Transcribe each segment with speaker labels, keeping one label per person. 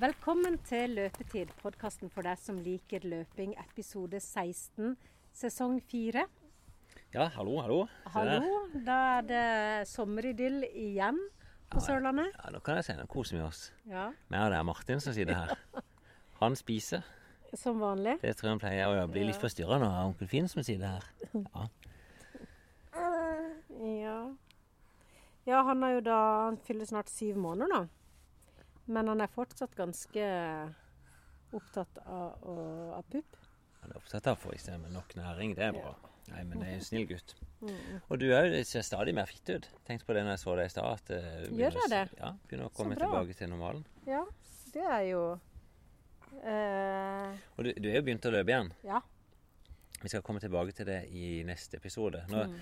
Speaker 1: Velkommen til Løpetid, podkasten for deg som liker løping, episode 16, sesong 4.
Speaker 2: Ja, hallo, hallo. Se der.
Speaker 1: Hallo, da er det sommeridyll igjen på Sørlandet.
Speaker 2: Ja, nå kan jeg si nå koser vi oss.
Speaker 1: Ja,
Speaker 2: Men ja, det er Martin som sitter her. Han spiser.
Speaker 1: Som vanlig.
Speaker 2: Det tror jeg han pleier. Og jeg blir litt forstyrra når onkel Finn som sitter her. Ja.
Speaker 1: Ja. ja, han er jo da Han fyller snart syv måneder nå. Men han er fortsatt ganske opptatt av, å- av pupp.
Speaker 2: Han er opptatt av å få i seg nok næring. Det er bra. Nei, men det er en snill gutt.
Speaker 1: Mm.
Speaker 2: Og du òg ser stadig mer fitt ut. Tenkte på det når jeg så deg i stad. at, eh, du
Speaker 1: Gjør
Speaker 2: begynner
Speaker 1: jeg
Speaker 2: å- Ja, begynner å komme
Speaker 1: bra.
Speaker 2: tilbake til normalen.
Speaker 1: Ja, det er jo eh,
Speaker 2: Og du, du er jo begynt å løpe igjen.
Speaker 1: Ja.
Speaker 2: Vi skal komme tilbake til det i neste episode. Nå,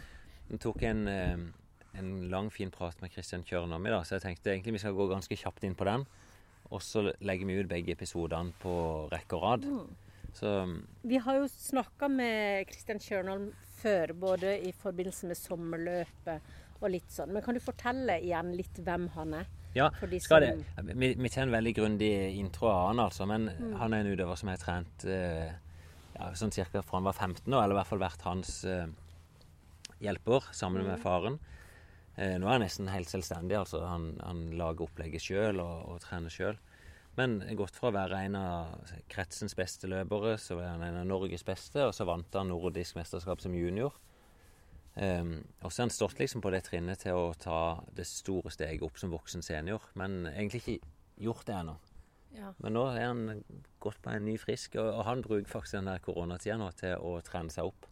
Speaker 2: nå tok jeg en, eh, en lang, fin prat med Kristian Kjørn om i dag, så jeg tenkte egentlig vi skal gå ganske kjapt inn på den. Og så legger vi ut begge episodene på rekke og rad. Så mm,
Speaker 1: Vi har jo snakka med Kristian Kjørnholm før, både i forbindelse med sommerløpet og litt sånn. Men kan du fortelle igjen litt hvem han er?
Speaker 2: ja,
Speaker 1: For de
Speaker 2: skal det.
Speaker 1: som- Mm.
Speaker 2: Vi, vi tar en veldig grundig intro av han, altså. Men han er en utøver som jeg har trent eh, ja, sånn cirka fra han var 15 år, eller i hvert fall vært hans eh, hjelper sammen
Speaker 1: Mm.
Speaker 2: med faren. Eh, nå er han nesten helt selvstendig. altså Han, han lager opplegget sjøl og, og trener sjøl. Men gått fra å være en av kretsens beste løpere, så var han en av Norges beste, og så vant han nordisk mesterskap som junior. Um, og så har han stått liksom på det trinnet til å ta det store steget opp som voksen senior, men egentlig ikke gjort det ennå.
Speaker 1: Ja.
Speaker 2: Men nå er han gått på en ny frisk, og, og han bruker faktisk den der koronatida nå til å trene seg opp.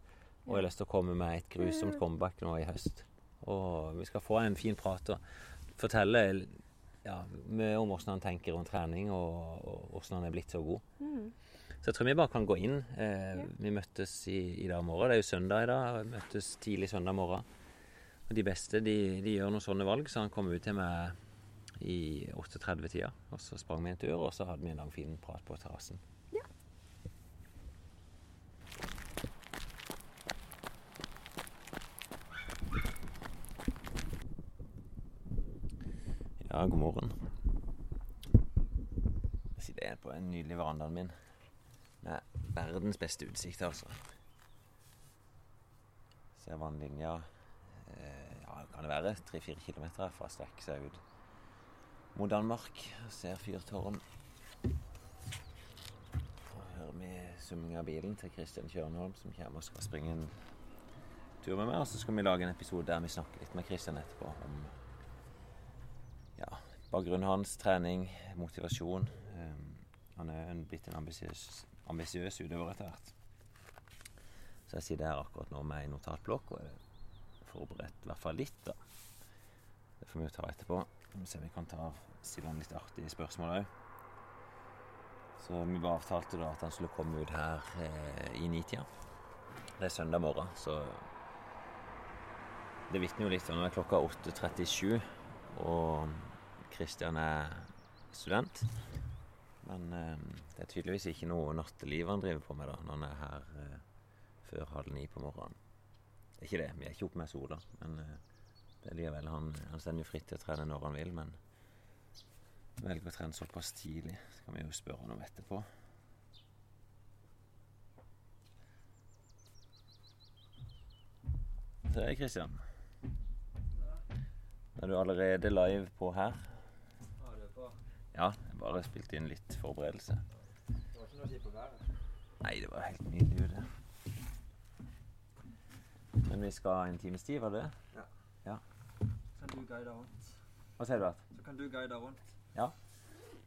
Speaker 2: Og jeg har lyst til å komme med et grusomt comeback nå i høst. Og vi skal få en fin prat og fortelle ja, mye om hvordan han tenker rundt trening, og, og hvordan han er blitt så god. Så jeg tror vi bare kan gå inn. Eh, Vi møttes i, i dag morgen. Det er jo søndag i dag. og Vi møttes tidlig søndag morgen. Og de beste de, de gjør noen sånne valg, så han kom ut til meg i 8.30-tida. Og så sprang vi en tur, og så hadde vi en lang, fin prat på terrassen. Ja, god morgen. Jeg sitter her på den nydelige verandaen min. Det er verdens beste utsikt, altså. Ser vannlinja eh, Ja, kan det være 3-4 km herfra. Strekker seg ut mot Danmark. Ser fyrtårn. Og hører vi summing av bilen til Kristian Kjørnholm, som kommer og skal springe en tur med meg. Og så skal vi lage en episode der vi snakker litt med Kristian etterpå om ja, bakgrunnen hans, trening, motivasjon. Ehm, han er en, blitt en ambisiøs ambisiøs utøver etter hvert. Så jeg sitter her akkurat nå med en notatblokk og er forberedt i hvert fall litt, da. Det får vi jo ta etterpå. Vi må se om vi kan ta stille han litt artige spørsmål òg. Så vi bare avtalte da at han skulle komme ut her eh, i nitida. Det er søndag morgen, så det vitner jo litt om Nå er klokka 8.37, og Kristian er student. Men eh, det er tydeligvis ikke noe natteliv han driver på med da, når han er her eh, før halv ni på morgenen. Det er ikke det. Vi er ikke oppe med sola. Men eh, det er likevel han, han står jo fritt til å trene når han vil, men velger å trene såpass tidlig. Så kan vi jo spørre han om etterpå. Det er Kristian. Er du allerede live på her?
Speaker 3: Ja, det er bra.
Speaker 2: Ja, jeg bare spilte inn litt forberedelse.
Speaker 3: Det var ikke noe å si på været.
Speaker 2: Nei, det var helt nydelig det. Men vi skal ha en times tid, var det det?
Speaker 3: Kan du guide rundt?
Speaker 2: Hva sier du at?
Speaker 3: Så kan du guide rundt.
Speaker 2: Jeg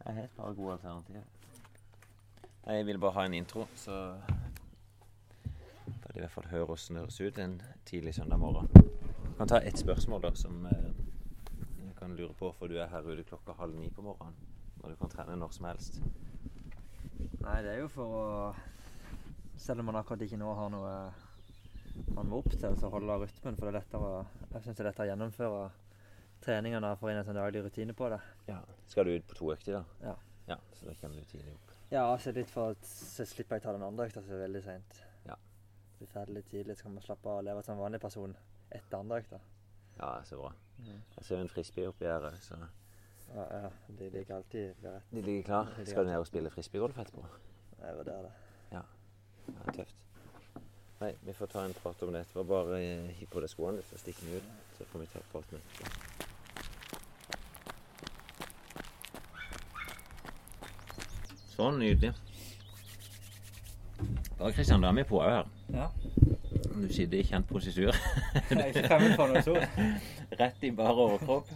Speaker 2: har helt bare gode alternativer. Nei, jeg ville bare ha en intro, så Da de i hvert fall hører hvordan det høres ut en tidlig søndag morgen. Jeg kan ta ett spørsmål, da, som eh, jeg kan lure på, for du er her ute klokka halv ni på morgenen. Og du kan trene når som helst.
Speaker 3: Nei, det er jo for å Selv om man akkurat ikke nå har noe man må opp til, så holde rytmen. For det er lettere å Jeg syns det er lettere å gjennomføre treningene og få inn en sånn daglig rutine på det.
Speaker 2: Ja. Skal du ut på to økter, da?
Speaker 3: Ja.
Speaker 2: ja. Så da kommer du tidlig opp.
Speaker 3: Ja, altså litt for at så slipper jeg ta den andre økta som er veldig seint.
Speaker 2: Ja.
Speaker 3: Blir ferdig litt tidlig, så kan man slappe av og leve som en vanlig person etter andre økta.
Speaker 2: Ja, så bra. Jeg ser en frisbee oppi her òg, så
Speaker 4: Ja, ja, de liker alltid berett.
Speaker 2: De ligger klar. Skal du ned og spille frisbeegolf etterpå?
Speaker 4: Jeg vurderer det.
Speaker 2: Ja, tøft. Nei, vi får ta en prat om det etterpå. Bare eh, hiv på deg skoene litt og stikk den ut. Så får vi ta praten etterpå. Sånn, nydelig. Da Kristian, da er vi på her.
Speaker 4: Ja.
Speaker 2: Du sitter i kjent posisur.
Speaker 4: Jeg er ikke fremmed for noe sånt.
Speaker 2: Rett i bar overkropp.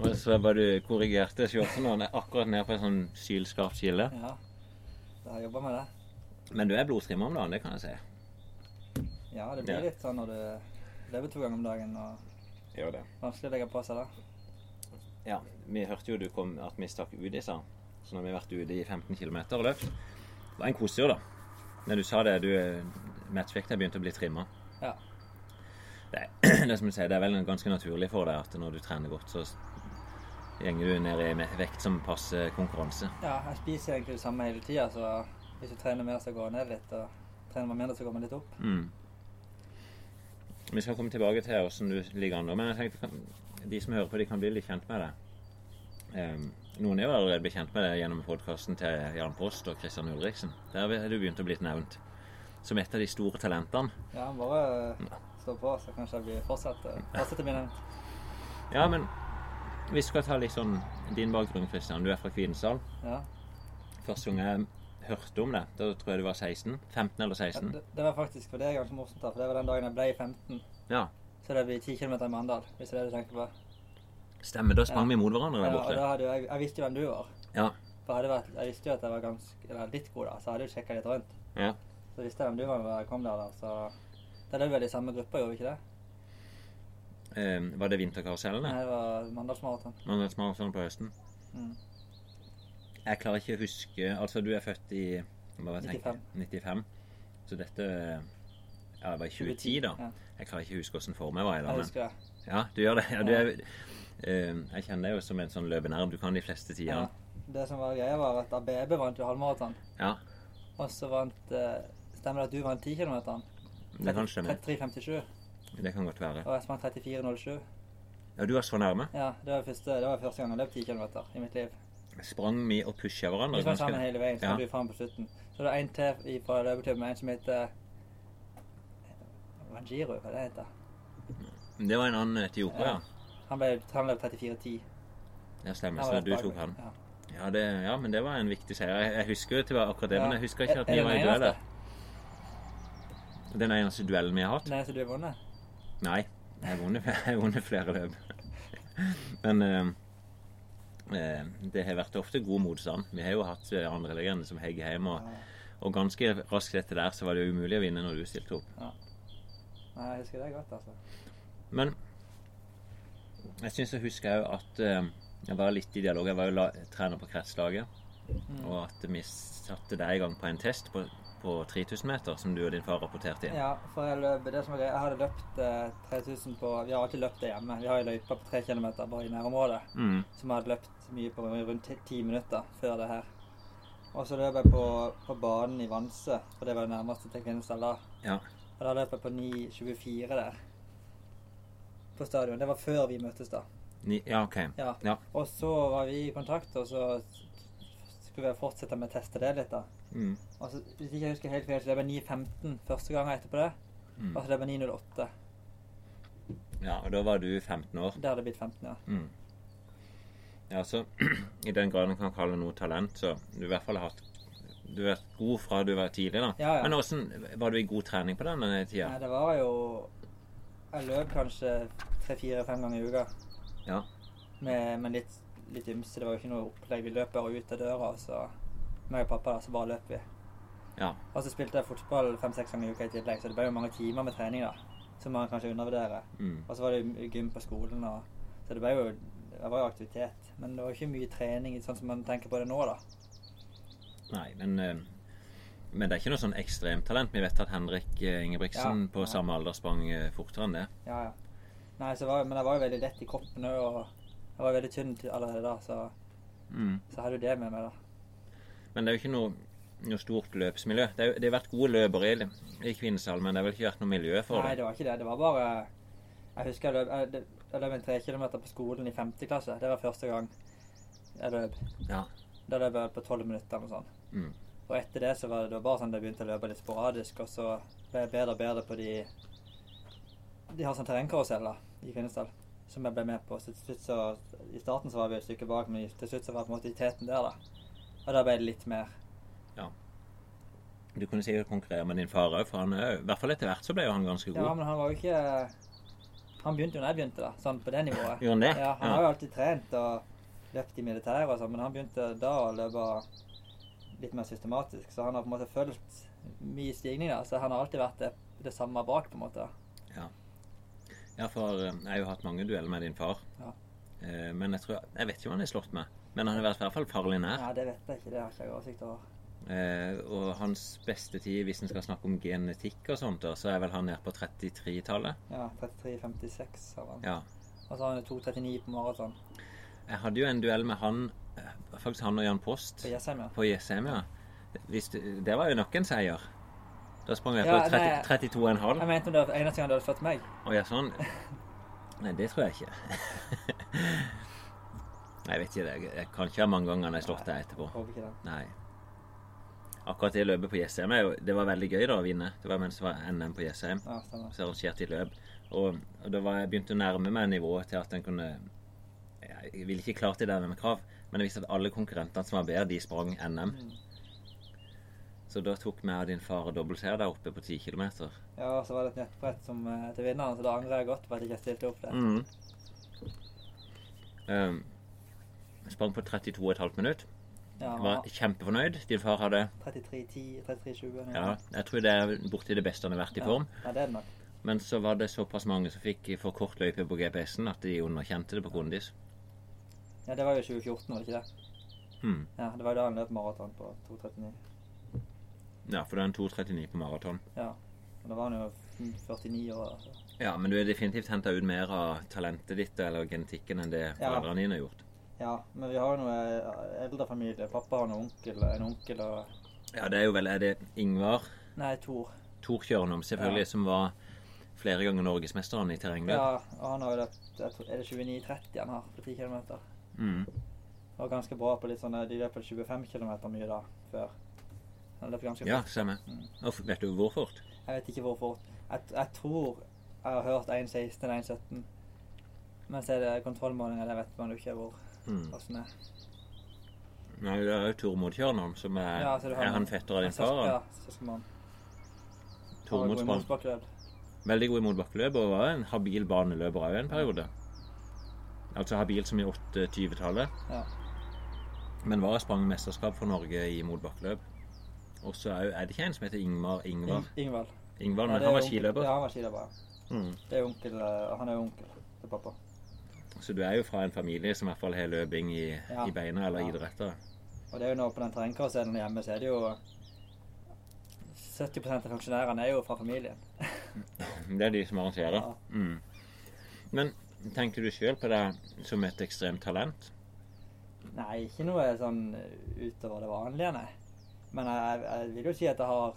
Speaker 2: Og så bare du korrigerte shortsen, og den er akkurat ned på en sånn sylskarpt skille.
Speaker 4: Ja. Da har jeg jobba med det.
Speaker 2: Men du er blodstrimmer om dagen, det kan jeg si.
Speaker 4: Ja, det
Speaker 2: Ja.
Speaker 4: blir litt sånn når du lever to ganger om dagen og
Speaker 2: Gjør det.
Speaker 4: vanskelig å legge på seg det.
Speaker 2: Ja, vi hørte jo du kom at vi stakk ut i stad. Så nå har vi vært ute i 15 km og løpt. Det var en kosetur, da. Men du sa det, du eh, matchvekta begynte å bli trimma.
Speaker 4: Ja.
Speaker 2: Det, er- det, er som du sier, det er vel ganske naturlig for deg at når du trener godt, så gjenger du ned i me- vekt som passer konkurranse.
Speaker 4: ja, jeg spiser egentlig det samme hele tida, så hvis du trener mer, så går jeg ned litt. Og trener man mindre, så går man litt opp.
Speaker 2: Mm. Vi skal komme tilbake til hvordan du ligger an nå, men jeg tenkte kan- de som hører på, de kan bli litt kjent med deg. Ehm, noen er jo allerede blitt kjent med deg gjennom podkasten til Jan Post og Christian Ulriksen. Der har du begynt å bli nevnt som et av de store talentene.
Speaker 4: Ja, bare eh, stå på, så kanskje jeg blir eh, fortsette. Fortsette blir nevnt.
Speaker 2: Ja, men vi skal ta litt sånn din bakgrunn, Christian. Du er fra Kvinesdal.
Speaker 4: Ja.
Speaker 2: Første gang jeg hørte om det, da tror jeg du var 16. 15 eller
Speaker 4: Ja,
Speaker 2: 16.
Speaker 4: Det, det var faktisk, for det er ganske morsomt, da, for det var den dagen jeg ble 15.
Speaker 2: Ja,
Speaker 4: Så det blir 10 km i Mandal, hvis det er det du tenker på.
Speaker 2: stemmer. Da sprang
Speaker 4: Ja.
Speaker 2: vi mot hverandre
Speaker 4: Ja,
Speaker 2: der
Speaker 4: og da
Speaker 2: borte.
Speaker 4: hadde jo, jeg, jeg visste jo hvem du var.
Speaker 2: Ja.
Speaker 4: For hadde vært, jeg visste jo at jeg var ganske, eller litt god, da, så jeg hadde jo sjekka litt rundt.
Speaker 2: ja.
Speaker 4: Så visste jeg hvem du var da jeg kom der, da. Så da løp vi vel i samme gruppe, gjorde vi ikke det?
Speaker 2: Ehm, var det vinterkarusellene?
Speaker 4: Nei, det var Mandalsmaraton.
Speaker 2: Man er smart sånn på høsten.
Speaker 4: Mm.
Speaker 2: Jeg klarer ikke å huske Altså, du er født i hva var det jeg
Speaker 4: 95.
Speaker 2: tenkte? 95. Så dette Ja, det var i 2010, da.
Speaker 4: Ja,
Speaker 2: Jeg klarer ikke å huske åssen form jeg var i da.
Speaker 4: jeg
Speaker 2: Men,
Speaker 4: husker det.
Speaker 2: ja, du gjør det. Ja, du
Speaker 4: Ja.
Speaker 2: er, eh, jeg kjenner deg jo som en sånn løpenerv. Du kan de fleste
Speaker 4: Ja.
Speaker 2: tidene.
Speaker 4: Det som var greia, var at Abebe vant jo halvmaraton.
Speaker 2: Ja.
Speaker 4: Og så vant eh, Stemmer det at du vant 10 km?
Speaker 2: Det kan stemme.
Speaker 4: 33,57.
Speaker 2: Det kan godt være.
Speaker 4: Og jeg vant 34,07.
Speaker 2: Ja, du var så nærme.
Speaker 4: Ja, det var, første, det var første gang jeg løp 10 km i mitt liv.
Speaker 2: Sprang vi og pusha hverandre?
Speaker 4: Vi var
Speaker 2: ganske-
Speaker 4: sammen hele veien, så
Speaker 2: Ja.
Speaker 4: kom du fram på slutten. Så det var en til i- fra løpeklubben, en som heter Wanjiru, hva det heter.
Speaker 2: Det var en annen etioper, ja.
Speaker 4: Ja. Han ble han løp 34,10.
Speaker 2: Det stemmer.
Speaker 4: Han var
Speaker 2: Så
Speaker 4: rett
Speaker 2: du
Speaker 4: bak
Speaker 2: tok
Speaker 4: meg.
Speaker 2: han.
Speaker 4: Ja.
Speaker 2: Ja, det, ja, men det var en viktig seier. Jeg, jeg husker jo til akkurat det,
Speaker 4: Ja.
Speaker 2: men jeg husker ikke
Speaker 4: Er-
Speaker 2: at
Speaker 4: er
Speaker 2: vi
Speaker 4: det
Speaker 2: var i
Speaker 4: den
Speaker 2: duell.
Speaker 4: eneste?
Speaker 2: der. Den eneste duellen vi har hatt.
Speaker 4: Nei, så du har vunnet?
Speaker 2: Nei, jeg har vunnet, jeg har vunnet flere løp. Men eh, eh, det har vært ofte god motstand. Vi har jo hatt eh, andre legender som Heggheim, og,
Speaker 4: Ja.
Speaker 2: og ganske raskt etter der så var det jo umulig å vinne når du stilte opp.
Speaker 4: Nei, jeg husker det godt, altså.
Speaker 2: Men jeg syns jeg husker òg at eh, jeg var litt i dialog. Jeg var jo la, trener på kretslaget,
Speaker 4: Mm.
Speaker 2: og at vi satte deg i gang på en test på, på 3000 meter som du og din far rapporterte inn.
Speaker 4: Ja, for jeg løp det som er greia, jeg hadde løpt eh, 3000 på Vi har alltid løpt det hjemme. Vi har ei løype på 3 km bare i nærområdet
Speaker 2: Mm,
Speaker 4: som jeg hadde løpt mye på rundt ti- ti minutter før det her. Og så løp jeg på, på banen i Vanse, for det var det nærmeste til Kvinesdal da.
Speaker 2: ja.
Speaker 4: Og da løp jeg på 9.24 der. På stadion. Det var før vi møttes, da.
Speaker 2: Ni, ja, OK.
Speaker 4: Ja.
Speaker 2: Ja.
Speaker 4: Og så var vi i kontakt, og så skulle vi fortsette med å teste det litt, da.
Speaker 2: Mm,
Speaker 4: Og så, Altså, hvis ikke jeg husker helt feil, så løp jeg 9.15 første gangen etterpå det.
Speaker 2: mm.
Speaker 4: Og så løp jeg 9.08.
Speaker 2: ja. Og da var du 15 år.
Speaker 4: Der er det blitt 15, ja.
Speaker 2: Mm. Ja, så I den grad en kan kalle noe talent, så du i hvert fall har hatt Du har vært god fra du var tidlig, da.
Speaker 4: Ja, ja.
Speaker 2: Men hvordan var du i god trening på den tida?
Speaker 4: Nei, det var jo Jeg løp kanskje tre-fire-fem ganger i uka.
Speaker 2: Ja.
Speaker 4: Med, men litt, litt ymse. Det var jo ikke noe opplegg. Vi løp bare ut av døra, og så meg og pappa, da, så bare løp vi.
Speaker 2: Ja.
Speaker 4: Og så spilte jeg fotball fem-seks ganger i uka i tillegg, så det ble jo mange timer med trening, da. Som man kanskje undervurderer.
Speaker 2: Mm.
Speaker 4: Og så var det jo gym på skolen, og Så det ble jo Det var jo aktivitet. Men det var ikke mye trening sånn som man tenker på det nå, da.
Speaker 2: Nei, men eh, Men det er ikke noe sånn ekstremt talent. Vi vet at Henrik eh, Ingebrigtsen
Speaker 4: Ja,
Speaker 2: på
Speaker 4: ja.
Speaker 2: samme alder sprang eh, fortere enn det.
Speaker 4: Ja, ja. Nei, så var, men jeg var jo veldig lett i kroppen òg, og jeg var veldig tynn til- allerede da, så,
Speaker 2: Mm.
Speaker 4: så jeg hadde jo det med meg, da.
Speaker 2: Men det er jo ikke noe noe stort løpsmiljø. Det, er, jo- det har vært gode løpere i, i Kvinesdal, men det har vel ikke vært noe miljø for
Speaker 4: Nei,
Speaker 2: det?
Speaker 4: det var ikke det. Det var bare Jeg husker jeg løp, jeg, jeg løp en tre kilometer på skolen i femte klasse. Det var første gang. jeg løp.
Speaker 2: Ja.
Speaker 4: Da løp jeg vel på 12 minutter eller noe sånt.
Speaker 2: Mm.
Speaker 4: Og etter det så var det da bare sånn at jeg begynte å løpe litt sporadisk, og så ble jeg bedre og bedre på de De har sånn terrengkaruseller i Kvinesdal som jeg ble med på. Så til slutt så I starten så var vi et stykke bak, men til slutt så var jeg på en måte i teten der, da. Og da ble det litt mer.
Speaker 2: Du kunne sikkert konkurrere med din far òg, for han er jo- i hvert fall etter hvert så ble jo han ganske
Speaker 4: Ja,
Speaker 2: god.
Speaker 4: men han var jo ikke Han begynte jo da jeg begynte, da. Sånn på det nivået.
Speaker 2: Gjorde han det?
Speaker 4: Ja, han har jo alltid trent og løpt i militæret og sånn, men han begynte da å løpe litt mer systematisk. Så han har på en måte fulgt mye stigning, da. Så han har alltid vært det, det samme bak, på en måte.
Speaker 2: Ja, for eh, jeg har jo hatt mange dueller med din far.
Speaker 4: Ja.
Speaker 2: Eh, Men jeg tror Jeg vet ikke om han er slått med. Men han har vært i hvert fall farlig nær.
Speaker 4: Ja, det vet jeg ikke, det har ikke jeg oversikt over.
Speaker 2: Eh, Og hans beste tid, hvis en skal snakke om genetikk og sånt, da, så er vel han nede på 33-tallet.
Speaker 4: Ja, 33,56 har han.
Speaker 2: Ja.
Speaker 4: Og så har han jo 2,39 på maraton
Speaker 2: Jeg hadde jo en duell med han eh, Faktisk han og Jan Post
Speaker 4: på Jessheim, ja.
Speaker 2: på Jessheim, ja. Hvis du, det var jo nok en seier. Da sprang jeg på
Speaker 4: Ja, nei.
Speaker 2: 30, 32,5.
Speaker 4: Jeg mente om det var eneste gang du hadde født meg.
Speaker 2: Å ja, sånn. Nei, det tror jeg ikke. Nei, jeg vet ikke det. Jeg kan ikke ha mange ganger han har slått deg etterpå.
Speaker 4: Håper ikke det.
Speaker 2: Nei. Akkurat det løpet på Jessheim er jo Det var veldig gøy da å vinne. Det var mens det var NM på Jessheim.
Speaker 4: Ja, stemmer.
Speaker 2: Så arrangerte de løp. Og, og da var jeg begynte å nærme meg nivået til at en kunne Jeg ville ikke klart det der med krav, men jeg visste at alle konkurrentene som var bedre, de sprang NM.
Speaker 4: Mm.
Speaker 2: Så da tok vi av din far og dobbeltseier der oppe på 10 km.
Speaker 4: Ja, og så var det et nettbrett som, eh, til vinneren, så da angrer jeg godt på at jeg ikke stilte opp der.
Speaker 2: Mm. Um, sprang på 32,5 minutt.
Speaker 4: Ja, han
Speaker 2: Var
Speaker 4: var
Speaker 2: kjempefornøyd. Din far hadde
Speaker 4: 33,10, 33,20. noe
Speaker 2: ja,
Speaker 4: sånt.
Speaker 2: Jeg tror det er borti det beste han har vært i form.
Speaker 4: Ja, det er det nok.
Speaker 2: Men så var det såpass mange som fikk for kort løype på GPS-en at de underkjente det på kondis.
Speaker 4: Ja, det var jo 2014, var det ikke det?
Speaker 2: Hmm.
Speaker 4: Ja, det var jo da han løp maraton på 2,39.
Speaker 2: Ja, for det er en 2,39 på maraton.
Speaker 4: Ja. Og da var han jo 49 år. Altså.
Speaker 2: Ja, men du har definitivt henta ut mer av talentet ditt eller genetikken enn det
Speaker 4: Ja.
Speaker 2: foreldrene dine har gjort.
Speaker 4: Ja, men vi har jo noe eh, eldre familie. Pappa har en onkel, en onkel og
Speaker 2: Ja, det er jo vel Er det Ingvar
Speaker 4: Nei, Tor.
Speaker 2: Tor Kjørnum, selvfølgelig,
Speaker 4: Ja.
Speaker 2: som var flere ganger norgesmesteren i terrengløp?
Speaker 4: Ja, og han har jo løpt jeg tror- Er det 29,30 han har på 10 km?
Speaker 2: Mm.
Speaker 4: Og ganske bra på litt sånne De løp vel 25 km mye da, før. Han løp ganske
Speaker 2: Ja,
Speaker 4: fort.
Speaker 2: stemmer. Hmm. Og f- vet du hvor fort?
Speaker 4: Jeg vet ikke hvor fort. Jeg, jeg tror jeg har hørt 1,16 eller 1,17. Men så er det kontrollmålinger, det vet man jo ikke hvor
Speaker 2: Mm.
Speaker 4: hvordan er.
Speaker 2: Nei, det er jo Tormod Kjørnholm, som er,
Speaker 4: Ja, så du har
Speaker 2: er han
Speaker 4: noen-
Speaker 2: fetter av din
Speaker 4: Men søs-
Speaker 2: far.
Speaker 4: Ja, søskenbarn.
Speaker 2: Tormod sprang
Speaker 4: Motsbakløp.
Speaker 2: veldig god i motbakkeløp og var en habil baneløper òg en periode. Altså habil som i 8-20-tallet.
Speaker 4: Ja.
Speaker 2: Men var sprang mesterskap for Norge i motbakkeløp. Og så er, jo- er det ikke en som heter Ingmar Ingvar?
Speaker 4: Ing- Ingvald.
Speaker 2: Ingvar,
Speaker 4: Ja,
Speaker 2: men
Speaker 4: det
Speaker 2: han
Speaker 4: er
Speaker 2: var
Speaker 4: onkel-
Speaker 2: skiløper.
Speaker 4: Ja, han var skiløper. ja.
Speaker 2: Mm.
Speaker 4: Det er onkel, eh, han er jo onkel til pappa.
Speaker 2: Så du er jo fra en familie som i hvert fall har løping i,
Speaker 4: Ja.
Speaker 2: i beina, eller
Speaker 4: Ja.
Speaker 2: idretter.
Speaker 4: Og det er jo nå på den terrengkarusellen hjemme, så er det jo 70 av funksjonærene er jo fra familien.
Speaker 2: Det er de som arrangerer.
Speaker 4: Ja.
Speaker 2: Mm. Men tenker du sjøl på deg som et ekstremt talent?
Speaker 4: Nei, ikke noe sånn utover det vanlige, nei. Men jeg, jeg vil jo si at jeg har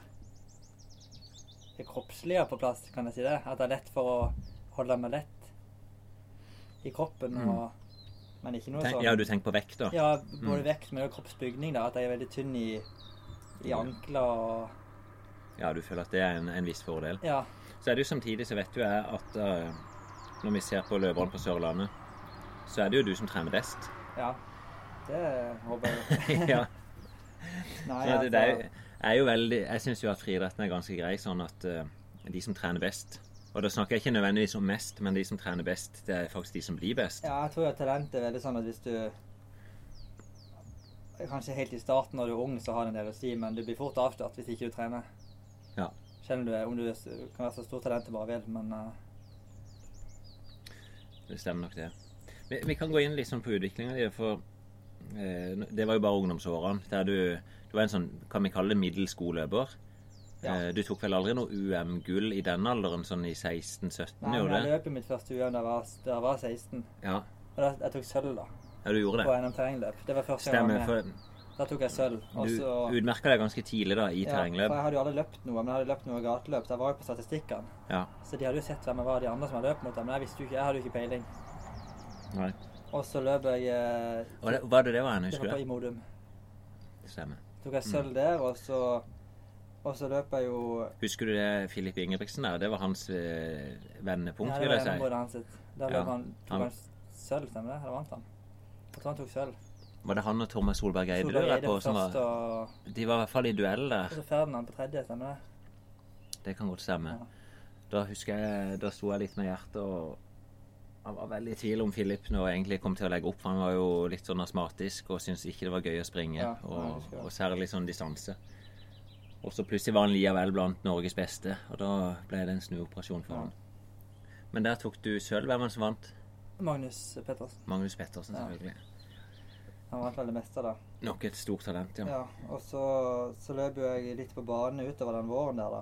Speaker 4: det kroppslige på plass, kan jeg si det. At det er lett for å holde meg lett i kroppen.
Speaker 2: Mm.
Speaker 4: Og, men ikke noe
Speaker 2: Tenk,
Speaker 4: sånn
Speaker 2: ja, du Mm. tenker på vekt, da?
Speaker 4: Ja, både vekt, men også kroppsbygning. da, At jeg er veldig tynn i, i ankler og
Speaker 2: Ja, du føler at det er en, en viss fordel.
Speaker 4: Ja.
Speaker 2: Så er det jo samtidig så vet jo jeg at eh, når vi ser på løperne på Sørlandet, så er det jo du som trener best.
Speaker 4: ja. Det håper jeg.
Speaker 2: ja.
Speaker 4: Nei, altså,
Speaker 2: Så det, det er, jo- er jo veldig Jeg syns jo at friidretten er ganske grei, sånn at eh, de som trener best Og da snakker jeg ikke nødvendigvis om mest, men de som trener best, det er faktisk de som blir best.
Speaker 4: Ja, jeg tror at talent er veldig sånn at hvis du Kanskje helt i starten når du er ung, så har det en del å si, men du blir fort avslørt hvis ikke du trener.
Speaker 2: Ja.
Speaker 4: Selv om du, er, om du er, s- kan være så stor talent du bare vil, men eh,
Speaker 2: Det stemmer nok, det. Vi, vi kan gå inn litt sånn på utviklinga di, for eh, det var jo bare ungdomsårene. Der du, du var en sånn, kan vi kalle det middels god løper.
Speaker 4: Ja.
Speaker 2: Eh, du tok vel aldri noe UM-gull i den alderen, sånn i 16-17?
Speaker 4: Nei, men
Speaker 2: gjorde
Speaker 4: jeg
Speaker 2: du det?
Speaker 4: løp i mitt første UM da jeg var, da jeg var 16.
Speaker 2: Ja.
Speaker 4: Og da, jeg tok sølv, da.
Speaker 2: ja, du gjorde
Speaker 4: På
Speaker 2: det.
Speaker 4: NM terrengløp. Det var første gang
Speaker 2: Stemmer.
Speaker 4: jeg var med.
Speaker 2: For
Speaker 4: Da tok jeg sølv. Og så
Speaker 2: du utmerka deg ganske tidlig da i
Speaker 4: Ja, for
Speaker 2: terrengløp.
Speaker 4: jeg hadde jo aldri løpt noe, men jeg hadde løpt noe gateløp. så Jeg var jo på statistikkene.
Speaker 2: Ja.
Speaker 4: Så de hadde jo sett hvem jeg var, de andre som jeg løp mot. Men jeg visste jo ikke, jeg hadde jo ikke peiling.
Speaker 2: Nei.
Speaker 4: Og så løp jeg eh,
Speaker 2: Og det, var det det var han,
Speaker 4: det
Speaker 2: husker du
Speaker 4: var på i Modum.
Speaker 2: det? Stemmer.
Speaker 4: Tok jeg
Speaker 2: Mm.
Speaker 4: sølv der, og så Og så løp jeg jo
Speaker 2: Husker du det Filip Ingebrigtsen der? Det var hans eh, vendepunkt,
Speaker 4: Nei, det
Speaker 2: vil jeg
Speaker 4: var
Speaker 2: si.
Speaker 4: gjennombruddet hans sitt. Der
Speaker 2: Ja,
Speaker 4: løp han,
Speaker 2: han-
Speaker 4: tok han sølv, stemmer det? Eller vant han? Jeg tror han tok sølv.
Speaker 2: Var det han og Thomas Solberg Eide du
Speaker 4: Solberg
Speaker 2: var
Speaker 4: Eide
Speaker 2: på? Som
Speaker 4: først,
Speaker 2: var,
Speaker 4: og,
Speaker 2: de var i hvert fall i duell der.
Speaker 4: og så Ferdinand på tredje, stemmer det?
Speaker 2: Det kan godt stemme.
Speaker 4: Ja.
Speaker 2: Da husker jeg, da sto jeg litt med hjertet og jeg var veldig i tvil om Philip nå egentlig kom til å legge opp. for Han var jo litt sånn astmatisk og syntes ikke det var gøy å springe.
Speaker 4: Ja, jeg
Speaker 2: og,
Speaker 4: husker det.
Speaker 2: og særlig sånn distanse. Og så plutselig var han likevel blant Norges beste, og da ble det en snuoperasjon for
Speaker 4: Ja.
Speaker 2: han. Men der tok du sølv. Hvem var det som vant?
Speaker 4: Magnus Pettersen.
Speaker 2: Magnus Pettersen,
Speaker 4: Ja.
Speaker 2: selvfølgelig.
Speaker 4: Han vant vel det meste, da.
Speaker 2: Nok et stort talent, ja.
Speaker 4: Ja, og så, så løp jo jeg litt på bane utover den våren der, da.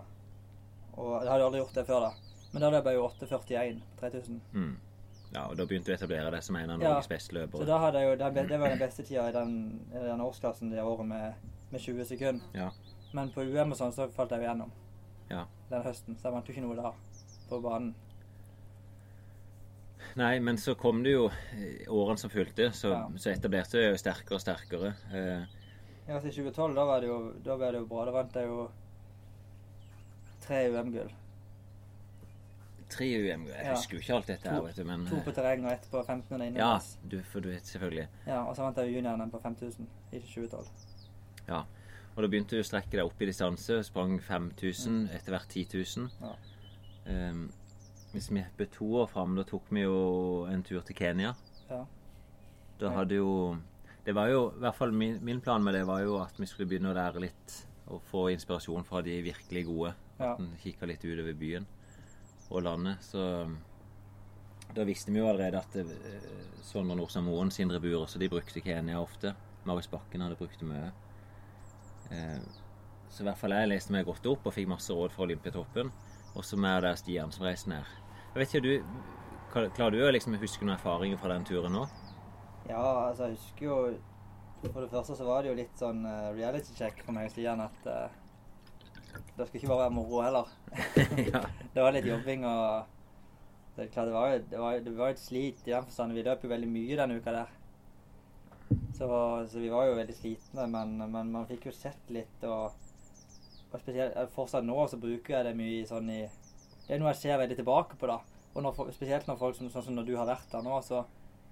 Speaker 4: Og jeg hadde jo aldri gjort det før, da. Men da løp jeg jo 8,41 på 3000.
Speaker 2: Mm. ja. Og da begynte du å etablere deg som en av
Speaker 4: Ja.
Speaker 2: Norges beste
Speaker 4: Så
Speaker 2: løpere.
Speaker 4: da hadde jeg jo, det, ble, det var den beste tida i den, i den årsklassen det året med, med 20 sekunder.
Speaker 2: Ja.
Speaker 4: Men på UM og sånn så falt jeg jo gjennom
Speaker 2: Ja.
Speaker 4: den høsten, så jeg vant jo ikke noe da på banen.
Speaker 2: Nei, men så kom det jo eh, årene som fulgte, så,
Speaker 4: Ja.
Speaker 2: så etablerte jeg jo sterkere og sterkere. Eh,
Speaker 4: Ja, altså i 2012 da, var det jo, da ble det jo bra. Da vant jeg jo tre UM-gull.
Speaker 2: tre UM, jeg
Speaker 4: Ja.
Speaker 2: husker jo ikke alt dette her,
Speaker 4: To-
Speaker 2: vet du, men
Speaker 4: To på
Speaker 2: eh,
Speaker 4: terreng og ett på 1500
Speaker 2: Ja,
Speaker 4: innendørs.
Speaker 2: du, for du vet selvfølgelig.
Speaker 4: Ja, og så vant jeg jo junior-NM på 5000 i 2012.
Speaker 2: Ja. Og da begynte du å strekke deg opp i distanse, sprang 5000, etter hvert 10 000.
Speaker 4: Mm. Ja.
Speaker 2: Eh, hvis vi hepper to år fram, da tok vi jo en tur til Kenya.
Speaker 4: Ja.
Speaker 2: Da
Speaker 4: Ja.
Speaker 2: hadde jo Det var jo i hvert fall min, min plan med det var jo at vi skulle begynne å lære litt og få inspirasjon fra de virkelig gode.
Speaker 4: Ja.
Speaker 2: At en kikka Sånn, litt utover byen og landet. Så um, da visste vi jo allerede at eh, Sondre Nordstad Moen, Sindre Bur også, de brukte Kenya ofte. Marius Bakken hadde brukt det mye. Eh, Så i hvert fall jeg leste meg godt opp og fikk masse råd fra Olympiatoppen. Og så er det Stian som reiser ned. Jeg vet ikke, du, kla- Klarer du å liksom huske noen erfaringer fra den turen nå?
Speaker 4: Ja, altså jeg husker jo For det første så var det jo litt sånn eh, reality check for meg og Stian at eh, det skulle ikke bare være moro heller.
Speaker 2: ja.
Speaker 4: Det var litt jobbing og Det er klart det var jo det var, det var jo et slit i den forstand. Vi løp jo veldig mye denne uka der. Så, så vi var jo veldig slitne, men, men man fikk jo sett litt og, og spesielt eh, Fortsatt nå så bruker jeg det mye i sånn i Det er noe jeg ser veldig tilbake på, da. Og når, fo- spesielt når folk som, sånn som når du har vært der nå, så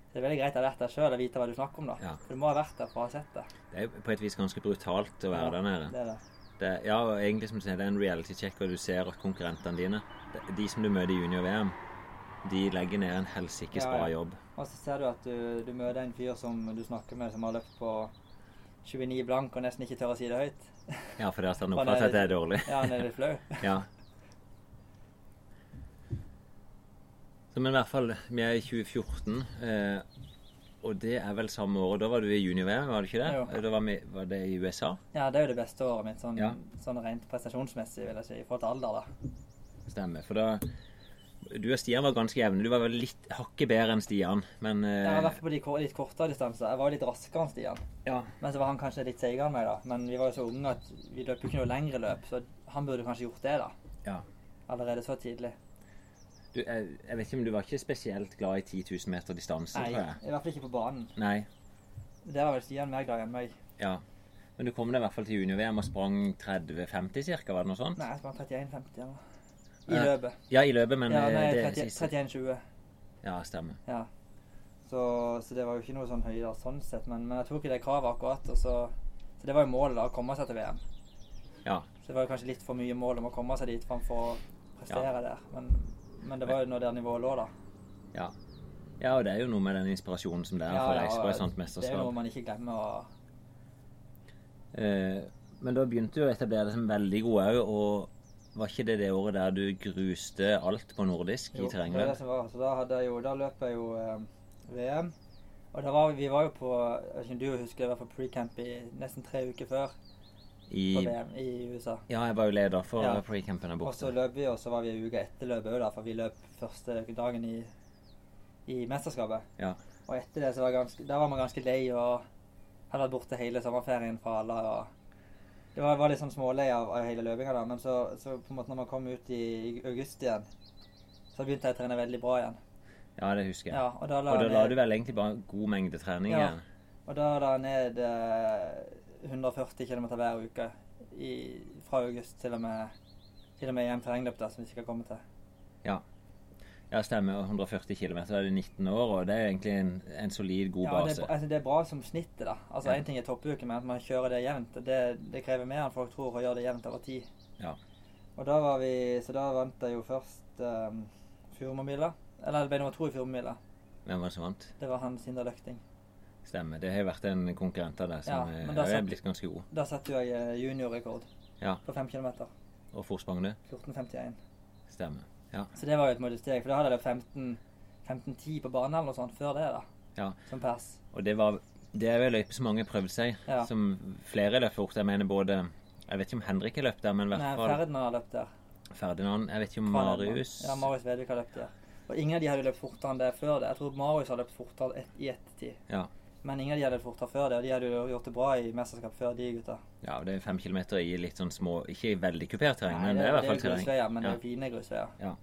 Speaker 4: så er det veldig greit å ha vært der sjøl og vite hva du snakker om, da.
Speaker 2: Ja.
Speaker 4: For du må ha vært der for å ha sett det.
Speaker 2: Det er jo på et vis ganske brutalt å være
Speaker 4: Ja,
Speaker 2: der nede.
Speaker 4: Det er det.
Speaker 2: Det, ja, og egentlig som du sier, det er en reality check, og du ser at konkurrentene dine, de- de som du møter i junior-VM, de legger ned en helsikes
Speaker 4: Ja, ja.
Speaker 2: bra jobb.
Speaker 4: Og så ser du at du, du møter en fyr som du snakker med, som har løpt på 29 blank og nesten ikke tør å si det høyt.
Speaker 2: Ja, fordi at han
Speaker 4: Han er
Speaker 2: oppfatter
Speaker 4: litt-
Speaker 2: at det er sånn, dårlig.
Speaker 4: Ja, han er litt flau.
Speaker 2: Ja. Så, men i hvert fall, vi er i 2014, eh, og det er vel samme året. Da var du i junior-VM, var du ikke det? Eh,
Speaker 4: Jo.
Speaker 2: Da var, vi, var det i USA?
Speaker 4: Ja, det er jo det beste året mitt, sånn,
Speaker 2: Ja.
Speaker 4: sånn rent prestasjonsmessig, vil jeg si, i forhold til alder, da.
Speaker 2: Stemmer. For da Du og Stian var ganske jevne. Du var vel litt hakket bedre enn Stian, men eh,
Speaker 4: Jeg har vært på de kor- litt kortere distanser. Jeg var jo litt raskere enn Stian,
Speaker 2: ja.
Speaker 4: men så var han kanskje litt seigere enn meg, da. Men vi var jo så unge at vi løp jo ikke noe lengre løp, så han burde kanskje gjort det, da.
Speaker 2: Ja.
Speaker 4: Allerede så tidlig.
Speaker 2: Du, jeg, jeg vet ikke om du var ikke spesielt glad i 10 000 meter distanse,
Speaker 4: Nei, i
Speaker 2: tror jeg.
Speaker 4: hvert fall ikke på banen.
Speaker 2: Nei.
Speaker 4: Der var vel Stian mer glad enn meg.
Speaker 2: Ja. Men du kom deg i hvert fall til junior-VM og sprang 30-50 ca., var det noe sånt?
Speaker 4: Nei, jeg sprang 31,50 eller noe. I
Speaker 2: Eh,
Speaker 4: løpet.
Speaker 2: Ja, i løpet, men
Speaker 4: Ja,
Speaker 2: eh,
Speaker 4: nei,
Speaker 2: det
Speaker 4: 30
Speaker 2: siste
Speaker 4: 31,20.
Speaker 2: Ja, stemmer.
Speaker 4: Ja. Så, så det var jo ikke noe sånn høyder sånn sett, men, men jeg tok ikke det kravet akkurat. Og så, så det var jo målet, da, å komme seg til VM.
Speaker 2: Ja.
Speaker 4: Så det var jo kanskje litt for mye mål om å komme seg dit framfor å prestere der. Men, men det var jo nå der nivået lå, da.
Speaker 2: Ja. ja, og det er jo noe med den inspirasjonen som det er for å reise på et sånt
Speaker 4: det er jo
Speaker 2: mesterskap.
Speaker 4: noe man ikke glemmer. å-
Speaker 2: Eh, Men da begynte du å etablere deg som veldig god òg, og var ikke det det året der du gruste alt på nordisk i
Speaker 4: jo, det var det
Speaker 2: terrengløp?
Speaker 4: som var. Så da, hadde jeg jo, da løp jeg jo eh, VM. Og da var, vi- vi var jo på jeg vet ikke om du husker det var på pre-camp i nesten tre uker før
Speaker 2: I
Speaker 4: på VM i USA.
Speaker 2: Ja, jeg var jo leder for
Speaker 4: Ja.
Speaker 2: ja. pre-campen der
Speaker 4: Og så
Speaker 2: borte.
Speaker 4: løp vi, og så var vi ei uke etter løpet òg, for vi løp første dagen i, i mesterskapet.
Speaker 2: Ja.
Speaker 4: Og etter det så var, jeg ganske, da var man ganske lei og hadde vært borte hele sommerferien fra alle. og Det var, var litt sånn smålei av, av hele løpinga, da. Men så, så på en måte når man kom ut i, i august igjen, så begynte jeg å trene veldig bra igjen.
Speaker 2: Ja, det husker jeg.
Speaker 4: Ja, og da la,
Speaker 2: Og da
Speaker 4: jeg
Speaker 2: la
Speaker 4: ned-
Speaker 2: du vel egentlig bare en god mengde trening
Speaker 4: Ja.
Speaker 2: igjen.
Speaker 4: Og da la jeg ned eh, 140 km hver uke i, fra august til og med til og med hjem terrengløp, da, som vi ikke har kommet til.
Speaker 2: Ja, stemmer. og 140 km. Da er du 19 år, og det er egentlig en, en solid, god
Speaker 4: Ja, det,
Speaker 2: base.
Speaker 4: er bra- altså, det er bra som snittet, da. Altså,
Speaker 2: Ja.
Speaker 4: Én ting er toppuke, men at man kjører det jevnt, og det, det krever mer enn folk tror å gjøre det jevnt over tid.
Speaker 2: Ja.
Speaker 4: Og da var vi, Så da vant jeg jo først um, Furumamila. Eller jeg ble nummer to i Furumamila.
Speaker 2: Hvem var det som vant?
Speaker 4: Det var han Sindre Løkting.
Speaker 2: Stemmer. Det har jo vært en konkurrent av deg som
Speaker 4: Ja,
Speaker 2: eh,
Speaker 4: men da
Speaker 2: også er
Speaker 4: satt-
Speaker 2: blitt ganske god.
Speaker 4: Da satte jo jeg eh, juniorrekord
Speaker 2: Ja.
Speaker 4: på 5 km.
Speaker 2: Og forsprang du?
Speaker 4: 14.51.
Speaker 2: Stemmer. Ja.
Speaker 4: Så det var jo et modig steg, for da hadde jeg løpt 15 15-10 på bane eller noe sånt før det, da.
Speaker 2: Ja.
Speaker 4: Som pers.
Speaker 2: Og det var det er jo en løype som mange har prøvd seg,
Speaker 4: Ja.
Speaker 2: som flere løp fort. Jeg mener både Jeg vet ikke om Henrik har løpt der, men i
Speaker 4: Nei,
Speaker 2: hvert fall
Speaker 4: Ferden har løpt der.
Speaker 2: Ferdinand. Jeg vet ikke om
Speaker 4: Kvalheim, da.
Speaker 2: Marius
Speaker 4: Ja, Marius Vedvik har løpt der. Og ingen av de hadde løpt fortere enn det før det. Jeg tror Marius har løpt fortere et, i ettertid.
Speaker 2: Ja.
Speaker 4: Men ingen av de hadde løpt fortere før det, og de hadde jo gjort det bra i mesterskap før, de gutta.
Speaker 2: Ja, og det er fem kilometer i litt sånn små Ikke i veldig kupert terreng,
Speaker 4: Nei,
Speaker 2: men det er i hvert fall
Speaker 4: jo
Speaker 2: terreng.
Speaker 4: grusveier, men det
Speaker 2: Ja.
Speaker 4: er jo fine grusveier.
Speaker 2: Ja.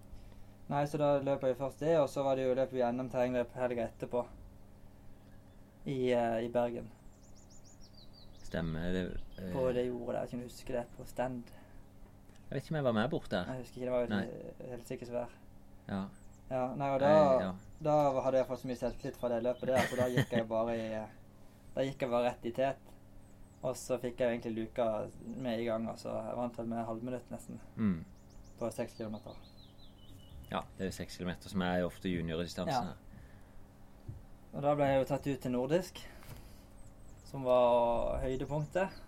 Speaker 4: Nei, så da løp jeg først det, og så var det jo løp vi NM terrengløp helga etterpå. I, eh, I Bergen.
Speaker 2: Stemmer det eh,
Speaker 4: På det jordet der, jeg kan ikke huske det. På Stend.
Speaker 2: Jeg vet ikke om jeg var med bort der.
Speaker 4: Jeg husker ikke, det var jo
Speaker 2: Nei.
Speaker 4: et helsike svær.
Speaker 2: Ja.
Speaker 4: Ja, nei, og da,
Speaker 2: Nei, ja.
Speaker 4: da hadde jeg fått så mye selvtillit fra det løpet der, så da gikk jeg bare i eh, Da gikk jeg bare rett i tet. Og så fikk jeg egentlig luka med i gang, og så jeg vant vel med halvminutt nesten
Speaker 2: Mm.
Speaker 4: på seks kilometer.
Speaker 2: ja. Det er jo seks kilometer, som er jo ofte juniordistansen.
Speaker 4: Ja. Og da ble jeg jo tatt ut til nordisk, som var høydepunktet.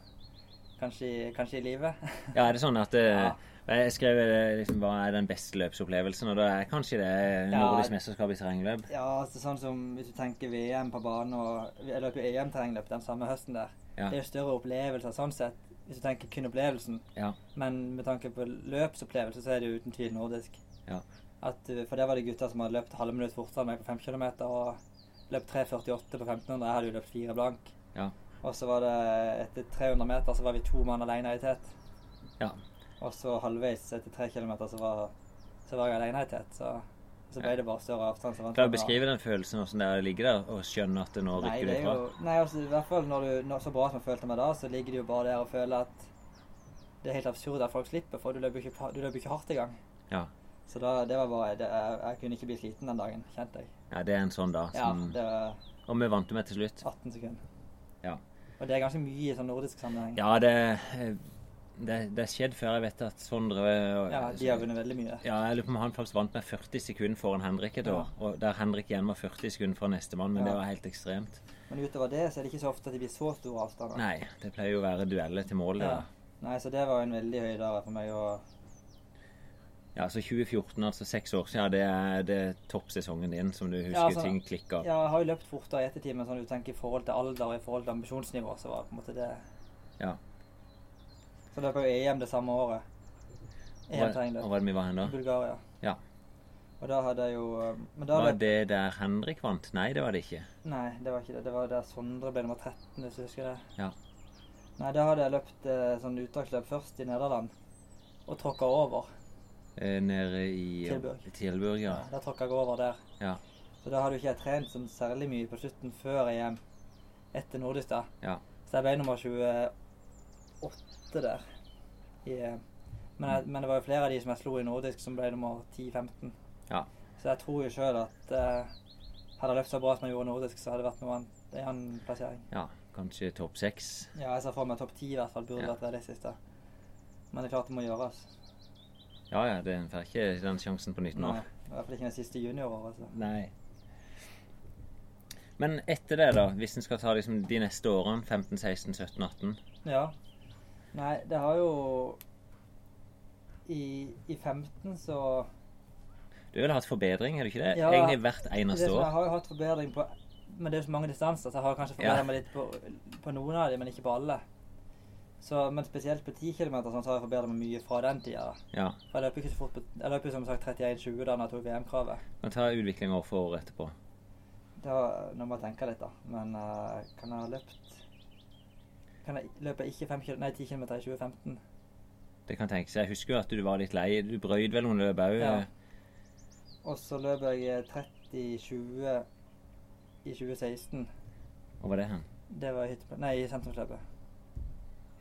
Speaker 4: Kanskje, i- kanskje i livet.
Speaker 2: Ja. ja, er det sånn at eh,
Speaker 4: Ja.
Speaker 2: Jeg skrev eh, liksom, hva er den beste løpsopplevelsen, og da er kanskje det eh,
Speaker 4: Ja.
Speaker 2: nordisk mesterskap i terrengløp.
Speaker 4: Ja, altså sånn som hvis du tenker VM på bane og Jeg løp jo EM-terrengløp E den samme høsten der.
Speaker 2: Ja.
Speaker 4: Det er jo større opplevelser sånn sett, hvis du tenker kun opplevelsen.
Speaker 2: Ja.
Speaker 4: Men med tanke på løpsopplevelse, så er det jo uten tvil nordisk.
Speaker 2: Ja.
Speaker 4: At, uh, for der var det gutter som hadde løpt halve minutt fortere enn meg på 5 km, og løpt 3,48 på 1500. Jeg hadde jo løpt fire blank.
Speaker 2: Ja.
Speaker 4: Og så var det etter 300 meter så var vi to mann alene i tet.
Speaker 2: Ja.
Speaker 4: Og så halvveis etter 3 km så var, så var jeg alene i tet. Så, så ble det bare større avstand. Så vant
Speaker 2: Klarer du å
Speaker 4: jeg.
Speaker 2: beskrive den følelsen hvordan det er å ligge der og skjønne at nå
Speaker 4: Nei,
Speaker 2: rykker
Speaker 4: det
Speaker 2: du
Speaker 4: er
Speaker 2: fra?
Speaker 4: jo, nei, altså i hvert fall når du når, Så bra som jeg følte meg da, så ligger det jo bare der og føler at det er helt absurd at folk slipper, for du løper ikke, pa- du løper ikke hardt i gang.
Speaker 2: Ja.
Speaker 4: Så da, det var bare det, jeg, jeg kunne ikke bli sliten den dagen, kjente jeg.
Speaker 2: Ja, det er en sånn da.
Speaker 4: Ja,
Speaker 2: Som,
Speaker 4: det var
Speaker 2: Og vi vant jo med til slutt.
Speaker 4: 18 sekunder.
Speaker 2: Ja.
Speaker 4: Og det er ganske mye i sånn nordisk sammenheng.
Speaker 2: Ja, det eh, det, det har skjedd før. Jeg vet at Sondre eh, og-
Speaker 4: Ja, de har vunnet veldig mye.
Speaker 2: Ja, jeg lurer på om han faktisk vant med 40 sekunder foran Henrik et år. Og der Henrik igjen var 40 sekunder fra nestemann, men
Speaker 4: Ja.
Speaker 2: det var helt ekstremt.
Speaker 4: Men utover det så er det ikke så ofte at det blir så store avstander.
Speaker 2: Nei, det pleier jo å være dueller til mål. det
Speaker 4: Ja.
Speaker 2: da.
Speaker 4: Nei, så det var jo en veldig høy dag for meg. Og
Speaker 2: Ja, så 2014, altså seks år siden, det er, det er toppsesongen din som du husker
Speaker 4: Ja, altså-
Speaker 2: ting klikker.
Speaker 4: ja, jeg har jo løpt fortere i ettertid, men sånn du tenker i forhold til alder og i forhold til ambisjonsnivå, så var det på en måte det
Speaker 2: Ja.
Speaker 4: Så løp jeg jo EM det samme året. E EM
Speaker 2: Og
Speaker 4: terrengløp.
Speaker 2: hva er det vi var hen da?
Speaker 4: Bulgaria.
Speaker 2: Ja.
Speaker 4: Og da hadde jeg jo um, Men da
Speaker 2: Var
Speaker 4: løp
Speaker 2: det der Henrik vant? Nei, det var det ikke.
Speaker 4: Nei, det var ikke det. Det var der Sondre ble nummer 13, hvis du husker det.
Speaker 2: Ja.
Speaker 4: Nei, da hadde jeg løpt eh, sånn uttaksløp først i Nederland, og tråkka over.
Speaker 2: Eh, Nede i
Speaker 4: Tilburg.
Speaker 2: Tilburg, ja.
Speaker 4: Da tråkka jeg over der.
Speaker 2: Ja.
Speaker 4: Så da hadde jo ikke jeg trent sånn særlig mye på slutten før EM, etter nordisk, da.
Speaker 2: Ja.
Speaker 4: Så jeg ble nummer 28 der. I, EM. men, jeg, men det var jo flere av de som jeg slo i nordisk, som ble nummer 10-15.
Speaker 2: Ja.
Speaker 4: Så jeg tror jo sjøl at eh, hadde jeg løpt så bra som jeg gjorde i nordisk, så hadde det vært noe annet, en annen plassering.
Speaker 2: ja. Kanskje topp seks.
Speaker 4: Ja, jeg ser for meg topp 10 i hvert fall. Burde
Speaker 2: Ja.
Speaker 4: vært realistisk, da. Men det er klart det må gjøres.
Speaker 2: Ja ja, det en får ikke den sjansen på nytt nå.
Speaker 4: Nei, eh, I hvert fall ikke det siste junioråret. Altså.
Speaker 2: Nei. Men etter det, da? Hvis en skal ta liksom de neste årene, 15, 16, 17, 18
Speaker 4: Ja. Nei, det har jo I, i 15 så
Speaker 2: Du ville hatt forbedring, er du ikke det?
Speaker 4: Ja.
Speaker 2: Egentlig hvert
Speaker 4: det
Speaker 2: eneste
Speaker 4: som Jeg
Speaker 2: år.
Speaker 4: har jo hatt forbedring på Men det er jo så mange distanser, så jeg har kanskje
Speaker 2: Ja.
Speaker 4: forbedret meg litt på, på noen av dem, men ikke på alle. Så, men spesielt på 10 km sånn, så har jeg forbedret meg mye fra den tida. da.
Speaker 2: Ja.
Speaker 4: For Jeg løp jo ikke så fort på Jeg løp jo som sagt 31,20 da når jeg tok VM-kravet.
Speaker 2: Kan ta utvikling år for år etterpå.
Speaker 4: Da, nå må jeg tenke litt, da. Men eh, kan jeg ha løpt Kan jeg løpe ikke 5 km, nei, 10 km i 2015?
Speaker 2: Det kan tenkes. Jeg eh, husker jo at du var litt lei. Du brøyd vel noen løp òg.
Speaker 4: Ja. Og så løp jeg eh, i 20 i 2016.
Speaker 2: Hvor var det hen?
Speaker 4: Det var i hytte... Nei, i sentrumsløpet.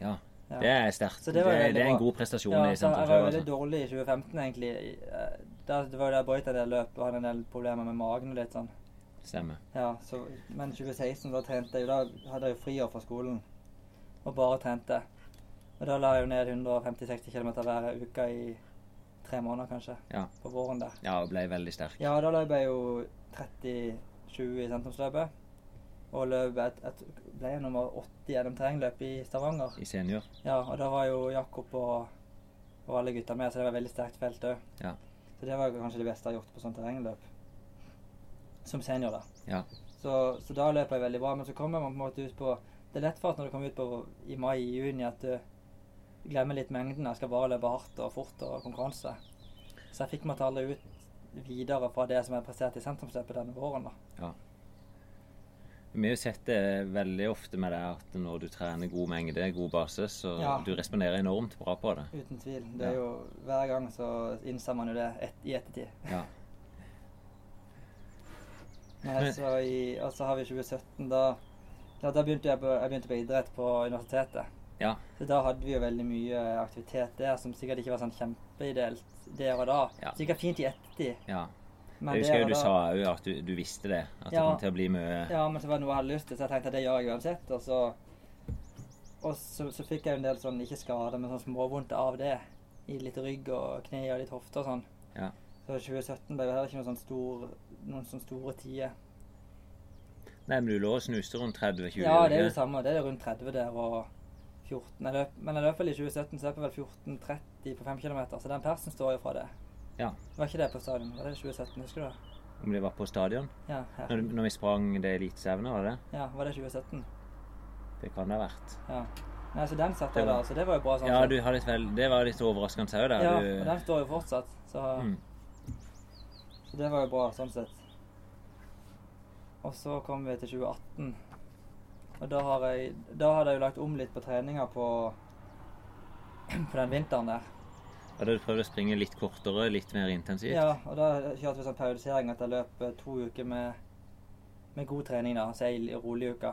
Speaker 2: Ja.
Speaker 4: Ja.
Speaker 2: Det er sterkt.
Speaker 4: Så
Speaker 2: Det,
Speaker 4: det var
Speaker 2: det,
Speaker 4: veldig
Speaker 2: er en
Speaker 4: bra.
Speaker 2: god prestasjon
Speaker 4: Ja,
Speaker 2: i altså.
Speaker 4: så jeg var jo veldig
Speaker 2: sentrumsløpet.
Speaker 4: dårlig i 2015, egentlig. Eh, Da, det var jo der jeg brøt en del løp og hadde en del problemer med magen og litt sånn.
Speaker 2: Altså. Stemmer.
Speaker 4: Ja, så, men 2016 da trente jeg jo, da hadde jeg jo friår fra skolen og bare trente. Og da la jeg jo ned 150-60 km hver uke i tre måneder kanskje,
Speaker 2: Ja.
Speaker 4: på våren der.
Speaker 2: ja, og ble veldig sterk.
Speaker 4: Ja, da løp jeg jo 30-20 i sentrumsløpet. Og løp et, et, ble jeg nummer 80 gjennom terrengløp i Stavanger.
Speaker 2: I senior.
Speaker 4: Ja, og da var jo Jakob og, og alle gutta med, så det var et veldig sterkt felt òg.
Speaker 2: Ja.
Speaker 4: Så det var jo kanskje det beste jeg har gjort på sånt terrengløp. Som senior, da.
Speaker 2: Ja.
Speaker 4: Så, så da løp jeg veldig bra. Men så kommer man på en måte ut på Det er lett for at når du kommer ut på i mai-juni, at du glemmer litt mengden. Jeg skal bare løpe hardt og fort og konkurranse. Så jeg fikk meg til aldri ut videre fra det som jeg presterte i sentrumsløpet denne våren, da.
Speaker 2: Vi har jo sett det veldig ofte med det at når du trener god mengde, god base, så
Speaker 4: Ja.
Speaker 2: du responderer enormt bra på det.
Speaker 4: Uten tvil. Det er
Speaker 2: Ja.
Speaker 4: jo Hver gang så innser man jo det et, i ettertid.
Speaker 2: Ja.
Speaker 4: Nei,
Speaker 2: Men-
Speaker 4: så altså, i, og så har vi 2017, da ja, Da begynte jeg på, jeg begynte på idrett på universitetet.
Speaker 2: Ja.
Speaker 4: Så da hadde vi jo veldig mye aktivitet der som sikkert ikke var sånn kjempeideelt der og da.
Speaker 2: Ja.
Speaker 4: Sikkert fint i ettertid,
Speaker 2: ja.
Speaker 4: men
Speaker 2: Jeg husker
Speaker 4: der
Speaker 2: jo
Speaker 4: og
Speaker 2: du
Speaker 4: da
Speaker 2: sa jo at du, du visste det. At det
Speaker 4: Ja.
Speaker 2: kom til å bli mye
Speaker 4: Ja, men så var det noe jeg hadde lyst til, så jeg tenkte det gjør jeg uansett. Og så, og så, så fikk jeg jo en del sånn, ikke skader, men sånn småvondt av det. I litt rygg og kne og litt hofte og sånn.
Speaker 2: Ja.
Speaker 4: Så 2017 ble det heller ikke noen sånn stor, noen sånn store tider.
Speaker 2: Nei, men du lå og snuste rundt 30-20
Speaker 4: Ja, det er
Speaker 2: uker.
Speaker 4: jo det samme. Det er rundt 30 der og 14. Jeg løp, men jeg løp vel i 2017, så løp jeg vel 14.30 på 5 km, så den persen står jo fra det.
Speaker 2: Ja.
Speaker 4: Var ikke det på stadion? Var det 2017, husker du det?
Speaker 2: Om det var på stadion?
Speaker 4: Ja, her.
Speaker 2: Når, når vi sprang det elitestevnet, var det det?
Speaker 4: ja, var det 2017?
Speaker 2: Det kan det ha vært.
Speaker 4: Ja. Nei, så den satt
Speaker 2: Det
Speaker 4: jeg
Speaker 2: var-
Speaker 4: da, så det var jo bra sånn.
Speaker 2: Ja,
Speaker 4: sett.
Speaker 2: du hadde et vel... det var litt overraskende òg, der.
Speaker 4: ja,
Speaker 2: du...
Speaker 4: og den står jo fortsatt, så,
Speaker 2: Mm.
Speaker 4: så det var jo bra sånn sett. Og så kom vi til 2018, og da, har jeg, da hadde jeg jo lagt om litt på treninga på, på den vinteren der.
Speaker 2: Og da hadde du prøvd å springe litt kortere, litt mer intensivt?
Speaker 4: Ja, og da kjørte vi sånn periodisering at jeg løp eh, to uker med, med god trening, da. Så ei rolig uke.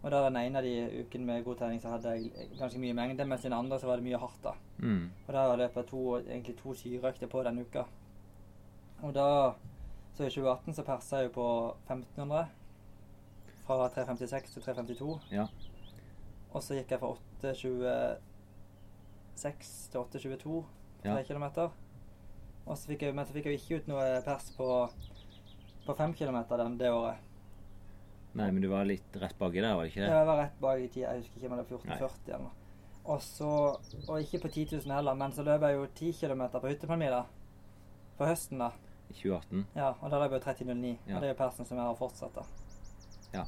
Speaker 4: Og da den ene av de ukene med god trening så hadde jeg ganske mye mengde, mens den andre så var det mye hardt, da.
Speaker 2: Mm.
Speaker 4: Og da løp jeg to, egentlig to syreøkter på den uka. Og da Så i 2018 så persa jeg jo på 1500. Fra 356 til 352.
Speaker 2: Ja.
Speaker 4: Og så gikk jeg fra 8.26 til 8.22
Speaker 2: Ja.
Speaker 4: 3 kilometer. Og så fikk jeg, men så fikk jeg jo ikke ut noe pers på, på 5 kilometer den, det året.
Speaker 2: Nei, men du var litt rett baki der, var det ikke det?
Speaker 4: Jeg var rett bak i tid, jeg husker ikke om det var 14.40 eller noe. Og så, og ikke på 10 000 heller, men så løp jeg jo 10 kilometer på hyttepalmi da. På høsten da.
Speaker 2: I 2018.
Speaker 4: Ja, og da løp jeg jo 30.09.
Speaker 2: Ja.
Speaker 4: Og det er jo persen som jeg har fortsatt da.
Speaker 2: Ja.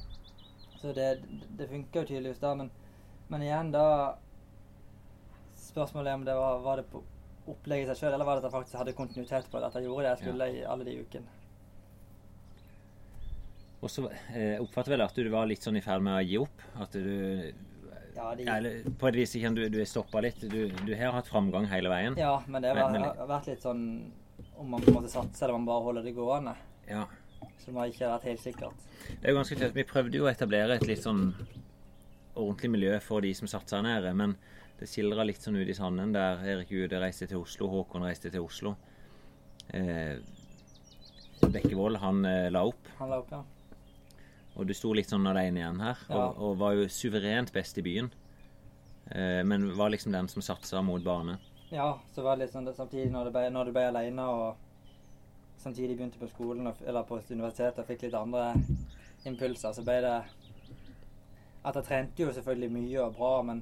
Speaker 4: Så det, det funker jo tydeligvis da, men, men igjen da, spørsmålet er om det var, var det på opplegget i seg selv, eller var det at jeg faktisk hadde kontinuitet på det, at jeg gjorde det jeg skulle i alle de ukene.
Speaker 2: Og så eh, oppfatter vel at du var litt sånn i ferd med å gi opp? At du
Speaker 4: Ja, de-
Speaker 2: Ja, Eller på et vis ikke sant, du, du er stoppa litt. Du, du har hatt framgang hele veien.
Speaker 4: Ja, men det
Speaker 2: Men-
Speaker 4: var-
Speaker 2: men-
Speaker 4: har vært litt sånn om man på en måte satser eller om man bare holder det gående.
Speaker 2: Ja.
Speaker 4: Som har ikke vært helt sikkert.
Speaker 2: Det er jo ganske tøft. Vi prøvde jo å etablere et litt sånn ordentlig miljø for de som satsa her nede, men det skildra litt sånn ut i sanden der Erik Jude reiste til Oslo, Håkon reiste til Oslo. Eh, Bekkevold, han eh, la opp,
Speaker 4: Han la opp, ja.
Speaker 2: og du sto litt sånn alene igjen her,
Speaker 4: Ja.
Speaker 2: og, og var jo suverent best i byen. Eh, men var liksom den som satsa mot bane.
Speaker 4: Ja, så var det litt sånn det, samtidig når du ble, når du ble alene og samtidig begynte på skolen og, f- eller på universitetet og fikk litt andre impulser, så ble det At jeg trente jo selvfølgelig mye og bra, men,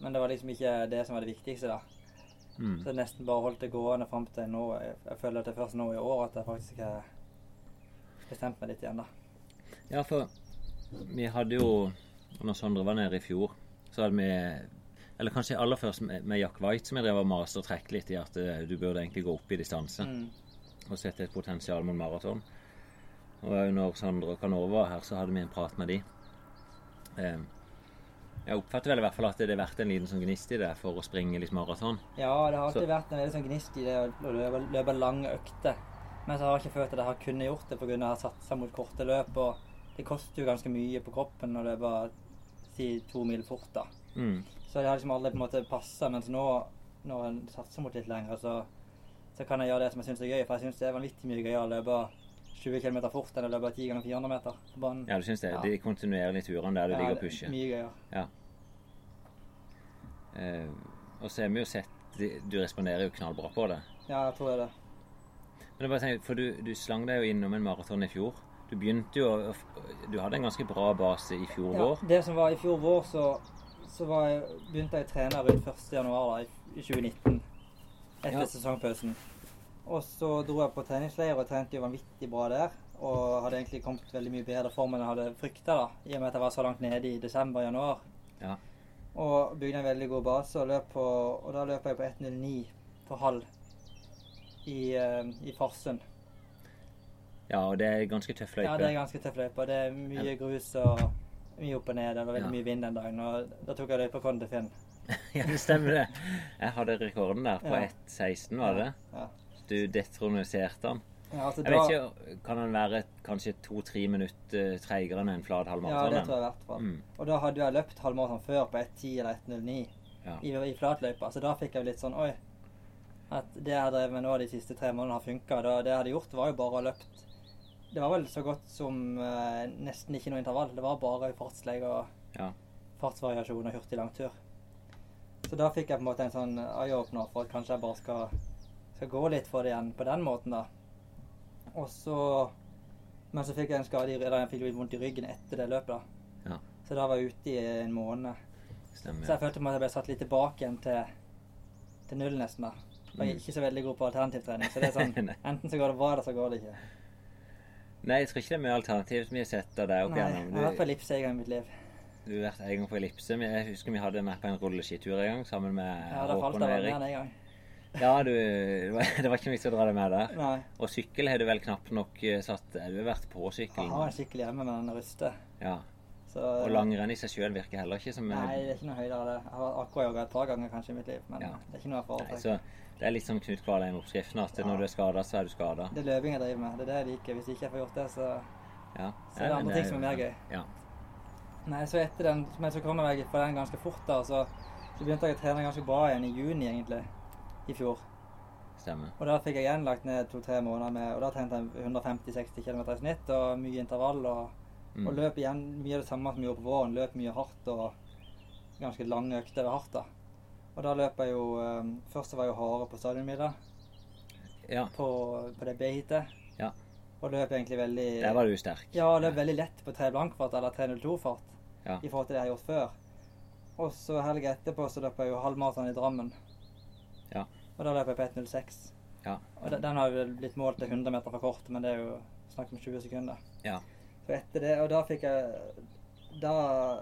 Speaker 4: men det var liksom ikke det som var det viktigste, da.
Speaker 2: Mm.
Speaker 4: Så jeg nesten bare holdt det gående fram til nå. Jeg, jeg føler at det er først nå i år at jeg faktisk har bestemt meg litt igjen, da.
Speaker 2: Ja, for vi hadde jo Når Sondre var nede i fjor, så hadde vi Eller kanskje aller først med med Jack White, som jeg drev og maste og trekk litt i at eh, du burde egentlig gå opp i distanse
Speaker 4: Mm.
Speaker 2: og sette et potensial mot maraton. Og også når Sondre og Canova var her, så hadde vi en prat med de. Eh, Jeg oppfatter vel i hvert fall at det har vært en liten sånn gnist i det for å springe litt maraton.
Speaker 4: Ja, det har alltid
Speaker 2: Så-
Speaker 4: vært en veldig sånn gnist i det å løpe, løpe lange økter. Men så har jeg ikke følt at jeg har kunnet gjort det pga. at jeg har satsa mot korte løp. Og det koster jo ganske mye på kroppen når det er bare si to mil fort, da.
Speaker 2: Mm.
Speaker 4: Så det har liksom aldri på en måte passa. Mens nå, når en satser mot litt lengre, så, så kan jeg gjøre det som jeg syns er gøy. For jeg syns det er vanvittig mye gøyere å løpe 20 km fort enn å løpe 10 ganger 400 meter på banen.
Speaker 2: Ja, du syns det?
Speaker 4: Ja.
Speaker 2: De kontinuerlige turene der du ligger og pusher.
Speaker 4: Mye gøyere.
Speaker 2: Eh, og så har vi jo sett de- Du responderer jo knallbra på det.
Speaker 4: Ja, jeg tror det. er det.
Speaker 2: Men jeg bare tenker, for du, du slang deg jo innom en maraton i fjor. Du begynte jo å- å f- Du hadde en ganske bra base i fjor vår.
Speaker 4: Ja, det som var i fjor vår, så, så var jeg, begynte jeg å trene rundt 1. januar da, i- i 2019. Etter
Speaker 2: Ja.
Speaker 4: sesongpausen. Og så dro jeg på treningsleir og trente jo vanvittig bra der. Og hadde egentlig kommet veldig mye bedre form enn jeg hadde frykta, da, i og med at jeg var så langt nede i desember og januar.
Speaker 2: Ja.
Speaker 4: Og bygde en veldig god base, og, løp på, og da løp jeg på 1.09 på halv i, eh, i Farsund.
Speaker 2: Ja, og det er ganske tøff løype.
Speaker 4: Ja, det er ganske tøff løype. Det er mye grus og mye opp og ned. Det var veldig
Speaker 2: Ja.
Speaker 4: mye vind den dagen. Og da tok jeg løypekoden til Finn.
Speaker 2: Ja, det stemmer det. Jeg hadde rekorden der på
Speaker 4: Ja.
Speaker 2: 1,16, var det?
Speaker 4: Ja.
Speaker 2: Du detroniserte han.
Speaker 4: Ja, altså,
Speaker 2: Jeg vet ikke, kan han være kanskje to-tre minutter eh, treigere enn en flat
Speaker 4: Ja,
Speaker 2: halvmaraton?
Speaker 4: det tror jeg i hvert fall.
Speaker 2: Mm.
Speaker 4: Og da hadde jeg løpt halvmaraton før på 1.10 eller 1.09
Speaker 2: Ja.
Speaker 4: i, i flatløypa, så da fikk jeg litt sånn oi. At det jeg har drevet med nå de siste tre månedene har funka. Det jeg hadde gjort, var jo bare å ha løpt Det var vel så godt som eh, nesten ikke noe intervall. Det var bare fartsleg og
Speaker 2: Ja.
Speaker 4: fartsvariasjon og hurtig langtur. Så da fikk jeg på en måte en sånn eye-opener for at kanskje jeg bare skal, skal gå litt for det igjen på den måten, da. Og så Men så fikk jeg en skade i eller jeg fikk litt vondt i ryggen etter det løpet, da.
Speaker 2: Ja.
Speaker 4: Så da var jeg ute i en måned. Så jeg
Speaker 2: Stemmer.
Speaker 4: følte på en måte jeg ble satt litt tilbake igjen til, til null nesten. da. Jeg er ikke så veldig god på alternativtrening. Så det er sånn,
Speaker 2: Mm. Nei.
Speaker 4: enten så går det bra, eller så går det ikke.
Speaker 2: Nei, jeg tror ikke det er mye alternativ som vi har sett av deg opp
Speaker 4: Nei, jeg har vært på
Speaker 2: igjennom.
Speaker 4: ellipse en gang i mitt liv.
Speaker 2: Du, du har vært en gang på ellipse. men Jeg husker vi hadde med på en rulleskitur en gang sammen med
Speaker 4: Ja, da falt
Speaker 2: Håkon
Speaker 4: jeg
Speaker 2: og
Speaker 4: vel ned
Speaker 2: Erik.
Speaker 4: en gang.
Speaker 2: Ja, du, det var det var ikke noe vits å dra deg med der.
Speaker 4: Nei,
Speaker 2: Og sykkel har du vel knapt nok eh, satt Du har vært på
Speaker 4: jeg
Speaker 2: sykling.
Speaker 4: har en skikkelig hjemme, men den er rustet.
Speaker 2: Ja.
Speaker 4: Så,
Speaker 2: Og langrenn i seg sjøl virker heller ikke som en-
Speaker 4: Nei, det er ikke noe høyde av det. Jeg har akkurat et par ganger kanskje i mitt liv, men
Speaker 2: Ja.
Speaker 4: det er ikke noe jeg
Speaker 2: Nei,
Speaker 4: foretrekker.
Speaker 2: så Det er litt som Knut Kvalheim-oppskriften. At når du er skada, så er du skada.
Speaker 4: Det er løping jeg driver med. Det er det jeg liker. Hvis ikke jeg får gjort det, så
Speaker 2: Ja.
Speaker 4: Så det er
Speaker 2: Ja,
Speaker 4: andre
Speaker 2: men
Speaker 4: ting som er mer gøy.
Speaker 2: Ja.
Speaker 4: Nei, så etter den, men så kom jeg meg på den ganske fort da, så, så begynte jeg å trene ganske bra igjen i juni egentlig, i fjor.
Speaker 2: Stemmer.
Speaker 4: Og da fikk jeg igjen lagt ned to-tre måneder med, og da trente jeg 150-60 km i snitt og mye intervall og,
Speaker 2: Mm.
Speaker 4: og løp igjen mye av det samme som vi gjorde på våren. Løp mye hardt og ganske lange økter over hardt da. Og da løp jeg jo, eh, først så var jeg jo harde på stadionmiddag,
Speaker 2: Ja.
Speaker 4: på, på det B-hitet.
Speaker 2: Ja.
Speaker 4: Og løp egentlig veldig...
Speaker 2: Der var du sterk.
Speaker 4: Ja, det er veldig lett på 3 blankfart eller 302-fart
Speaker 2: Ja.
Speaker 4: i forhold til det jeg har gjort før. Og så helga etterpå så løp jeg jo halvmaraton i Drammen.
Speaker 2: Ja.
Speaker 4: Og da løp jeg på 1.06.
Speaker 2: Ja.
Speaker 4: Og de- den har vel blitt målt til 100 meter fra kortet, men det er jo snakk om 20 sekunder.
Speaker 2: Ja.
Speaker 4: Så etter det, og da fikk jeg da,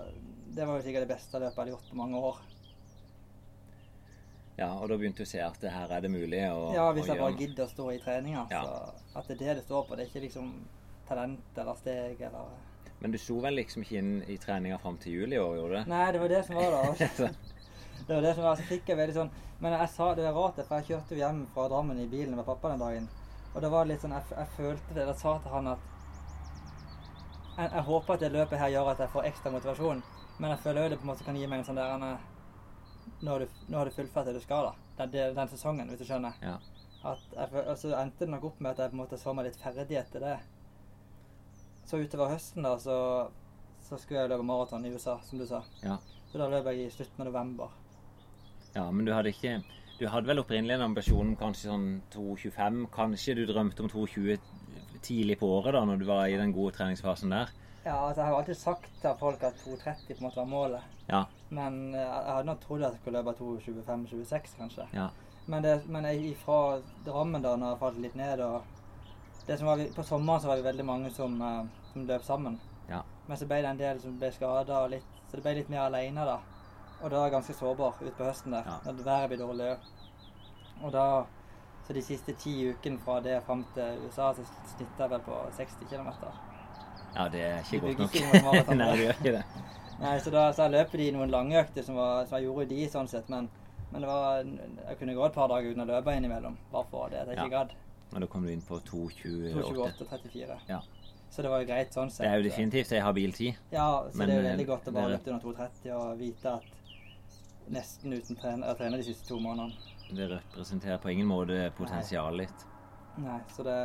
Speaker 4: Det var jo sikkert det beste løpet jeg hadde gjort på mange år.
Speaker 2: ja. Og da begynte du å se at det her er det mulig å,
Speaker 4: Ja, Hvis
Speaker 2: å
Speaker 4: jeg bare
Speaker 2: noe.
Speaker 4: gidder å stå i treninga.
Speaker 2: Ja.
Speaker 4: Så at det er det det står på. Det er ikke liksom talent eller steg eller
Speaker 2: Men du sto vel liksom ikke inn i treninga fram til jul i år, gjorde du?
Speaker 4: Nei, det var det som var da.
Speaker 2: Så,
Speaker 4: Det var det som var så fikk jeg veldig sånn Men jeg sa det er rart, det, for jeg kjørte jo hjem fra Drammen i bilen med pappa den dagen. Og da var det litt sånn Jeg, jeg følte det. Jeg sa til han at jeg, jeg håper at det løpet her gjør at jeg får ekstra motivasjon, men jeg føler jo det på en måte kan gi meg en sånn der en, eh, nå, har du, nå har du fullført det du skal, da. Den, den, den sesongen, hvis du skjønner.
Speaker 2: ja.
Speaker 4: At jeg, fø- og så endte det nok opp med at jeg på en måte så meg litt ferdig etter det. Så utover høsten, da, så, så skulle jeg løpe maraton i USA, som du sa.
Speaker 2: Ja.
Speaker 4: Så da løp jeg i slutten av november.
Speaker 2: ja. Men du hadde ikke Du hadde vel opprinnelig en ambisjon om kanskje sånn 2,25? Kanskje du drømte om 2,20 tidlig på året, da, når du var i den gode treningsfasen der?
Speaker 4: Ja, altså jeg har jo alltid sagt til folk at 2,30 på en måte var målet.
Speaker 2: Ja.
Speaker 4: Men eh, jeg hadde nok trodd at jeg skulle løpe 2,25-26 kanskje.
Speaker 2: Ja.
Speaker 4: Men, det, men jeg, ifra Drammen da, når jeg falt litt ned og det som var, vi- På sommeren så var det veldig mange som, eh, som løp sammen.
Speaker 2: Ja.
Speaker 4: Men så ble det en del som ble skada, og litt, så det ble litt mer aleine da. Og da er jeg ganske sårbar utpå høsten der,
Speaker 2: Ja.
Speaker 4: når været blir dårlig. Og da Så de siste ti ukene fra det fram til USA, så snitta jeg vel på 60 km.
Speaker 2: ja, det er ikke
Speaker 4: Du
Speaker 2: godt
Speaker 4: bygger
Speaker 2: nok.
Speaker 4: ikke noe maraton.
Speaker 2: Nei, du gjør ikke det.
Speaker 4: Nei, så da så jeg løper de noen lange økter som, var, som jeg gjorde de sånn sett, men, men det var, jeg kunne gå et par dager uten å løpe innimellom. Bare for det at jeg ikke gadd.
Speaker 2: Og da kom du inn på 2.28.
Speaker 4: 2.28,34.
Speaker 2: Ja.
Speaker 4: Så det var jo greit sånn sett.
Speaker 2: Det er jo definitivt ei habil tid.
Speaker 4: Ja, så
Speaker 2: Men,
Speaker 4: det er jo
Speaker 2: eh,
Speaker 4: veldig godt å
Speaker 2: det
Speaker 4: bare
Speaker 2: er-
Speaker 4: løpe under 2,30 og vite at nesten uten trener, jeg trener de siste to månedene.
Speaker 2: Det representerer på ingen måte potensialet ditt.
Speaker 4: Nei, så det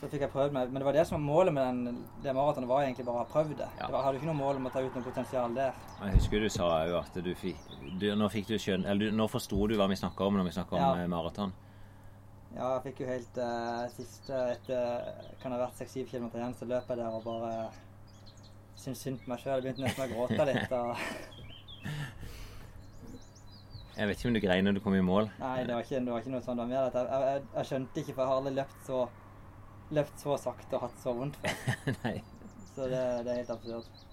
Speaker 4: så fikk jeg prøvd meg. Men det var det som var målet med den, det maratonet, var egentlig bare å ha prøvd det.
Speaker 2: Ja.
Speaker 4: det var, jeg hadde ikke noe mål om å ta ut noe potensial der.
Speaker 2: Jeg husker du sa jo at du fikk du, Nå fikk du skjønn... Eller du, nå forsto du hva vi snakka om når vi snakka
Speaker 4: Ja.
Speaker 2: om eh, maraton.
Speaker 4: Ja, jeg fikk jo helt eh, siste etter kan det ha vært 6-7 km igjen, så løp jeg der og bare syntes synd på meg sjøl. Begynte nesten å gråte litt. Og,
Speaker 2: Jeg vet ikke om du grein når du kom i mål.
Speaker 4: nei, det var, ikke, det var ikke noe sånn. Det var mer at jeg, jeg, jeg, jeg skjønte ikke, for jeg har aldri løpt så, løpt så sakte og hatt så vondt før.
Speaker 2: Nei.
Speaker 4: Så det, det er helt absurd.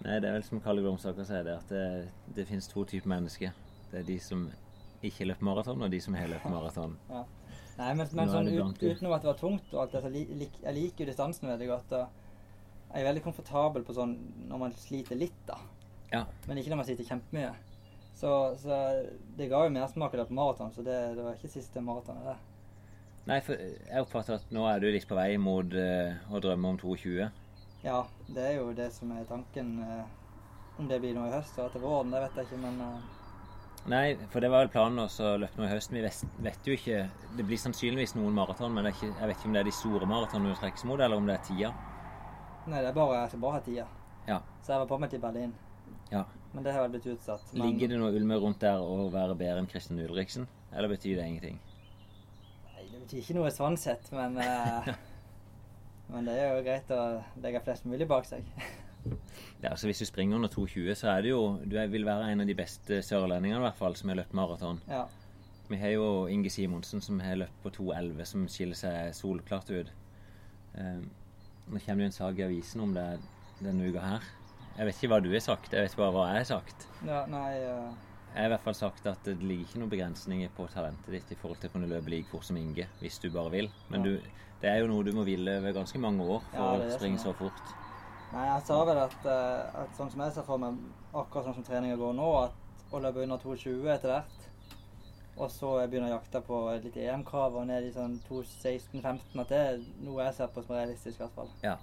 Speaker 2: Nei, det er vel som Kalle Glomsaker sier, det at det, det finnes to typer mennesker. Det er de som ikke har løpt maraton, og de som har løpt maraton.
Speaker 4: Nei, men, men
Speaker 2: Nå er
Speaker 4: sånn,
Speaker 2: det
Speaker 4: ut,
Speaker 2: blant de.
Speaker 4: utenom at det var tungt og alt det, så li, lik, jeg liker jo distansen veldig godt. Og jeg er veldig komfortabel på sånn når man sliter litt, da.
Speaker 2: Ja.
Speaker 4: Men ikke når man sliter kjempemye. Så, så det ga jo mersmak å løpe maraton, så det, det var ikke siste maratonet, det.
Speaker 2: Nei, for eh, jeg oppfatter at nå er du litt på vei mot eh, å drømme om 2,20.
Speaker 4: Ja, det er jo det som er tanken. eh, Om det blir noe i høst og til våren, det vet jeg ikke, men eh,
Speaker 2: Nei, for det var vel planen også å løpe nå i høsten. Vi vet, vet jo ikke Det blir sannsynligvis noen maraton, men det er ikke, jeg vet ikke om det er de store maratonene du trekkes mot, eller om det er tida.
Speaker 4: Nei, det er bare, jeg skal bare ha tida.
Speaker 2: Ja.
Speaker 4: Så jeg var påmeldt i Berlin.
Speaker 2: Ja.
Speaker 4: Men det har vel blitt utsatt. Men
Speaker 2: Ligger det noe ulme rundt der å være bedre enn Kristin Ulriksen, eller betyr det ingenting?
Speaker 4: Nei, det betyr ikke noe sånn sett, men eh, Men det er jo greit å legge flest mulig bak seg.
Speaker 2: Ja, altså Hvis du springer under 2,20, så er det jo Du er- vil være en av de beste sørlendingene i hvert fall som har løpt maraton.
Speaker 4: Ja.
Speaker 2: Vi har jo Inge Simonsen som har løpt på 2,11, som skiller seg solklart ut. Eh, nå kommer det jo en sak i avisen om det denne uka her. Jeg vet ikke hva du har sagt, jeg vet bare hva jeg har sagt.
Speaker 4: ja nei eh,
Speaker 2: Jeg har i hvert fall sagt at det ligger ikke noen begrensninger på talentet ditt i forhold til å kunne løpe like fort som Inge, hvis du bare vil. Men
Speaker 4: Ja.
Speaker 2: du, det er jo noe du må ville over ganske mange år for
Speaker 4: Ja, det er
Speaker 2: å
Speaker 4: det
Speaker 2: springe
Speaker 4: som
Speaker 2: så
Speaker 4: er.
Speaker 2: fort.
Speaker 4: Nei, jeg sa vel at, eh, at sånn som jeg ser for meg, akkurat sånn som treninga går nå, at å løpe under 2,20 etter hvert, og så jeg begynner jakta på litt EM-krav og ned i sånn 2,16-15, at det er noe jeg ser på som realistisk, i hvert fall.
Speaker 2: Ja,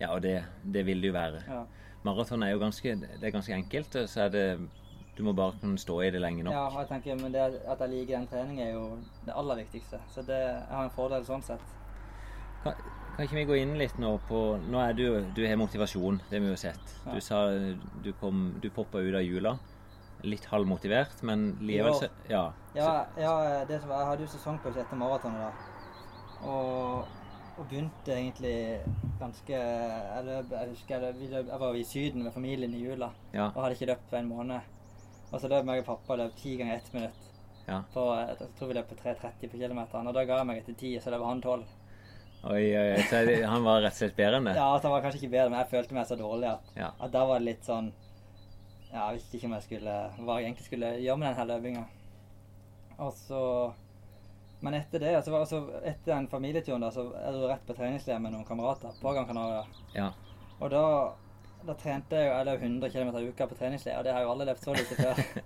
Speaker 2: ja og det, det vil det jo være.
Speaker 4: Ja.
Speaker 2: Maraton er jo ganske, det er ganske enkelt, og så er det Du må bare kunne stå i det lenge nok.
Speaker 4: Ja, og jeg tenker, men det at jeg liker den treningen er jo det aller viktigste. Så det, jeg har en fordel sånn sett.
Speaker 2: Kan, kan ikke vi gå inn litt nå på Nå er du Du har motivasjon, det har vi jo sett.
Speaker 4: Ja.
Speaker 2: Du sa du kom Du poppa ut av jula. Litt halvmotivert, men likevel så Ja.
Speaker 4: Ja, ja det som, jeg hadde jo sesongpause etter maratonet da. Og, og begynte egentlig ganske Jeg, løp, jeg husker jeg, løp, vi løp, jeg var i Syden med familien i jula
Speaker 2: ja.
Speaker 4: og hadde ikke løpt på en måned. Og så løp meg og pappa løp ti ganger ett minutt.
Speaker 2: Ja.
Speaker 4: På, eh, jeg tror vi løp på 3,30 på kilometeren. Og da ga jeg meg etter ti, så løp han tolv.
Speaker 2: Oi, oi, oi. Så er det, han var rett og slett bedre enn det?
Speaker 4: Ja, altså, han var kanskje ikke bedre, men jeg følte meg så dårlig at
Speaker 2: Ja.
Speaker 4: At da var det litt sånn Ja, jeg visste ikke om jeg skulle hva jeg egentlig skulle gjøre med denne løpinga. Og så Men etter det, altså, altså etter den familieturen, da, så er du rett på treningsleir med noen kamerater på Gran Canaria.
Speaker 2: Ja.
Speaker 4: Og da, da trente jeg jo jeg løp 100 km i uka på treningsleir, og det har jeg jo aldri løpt så lite før.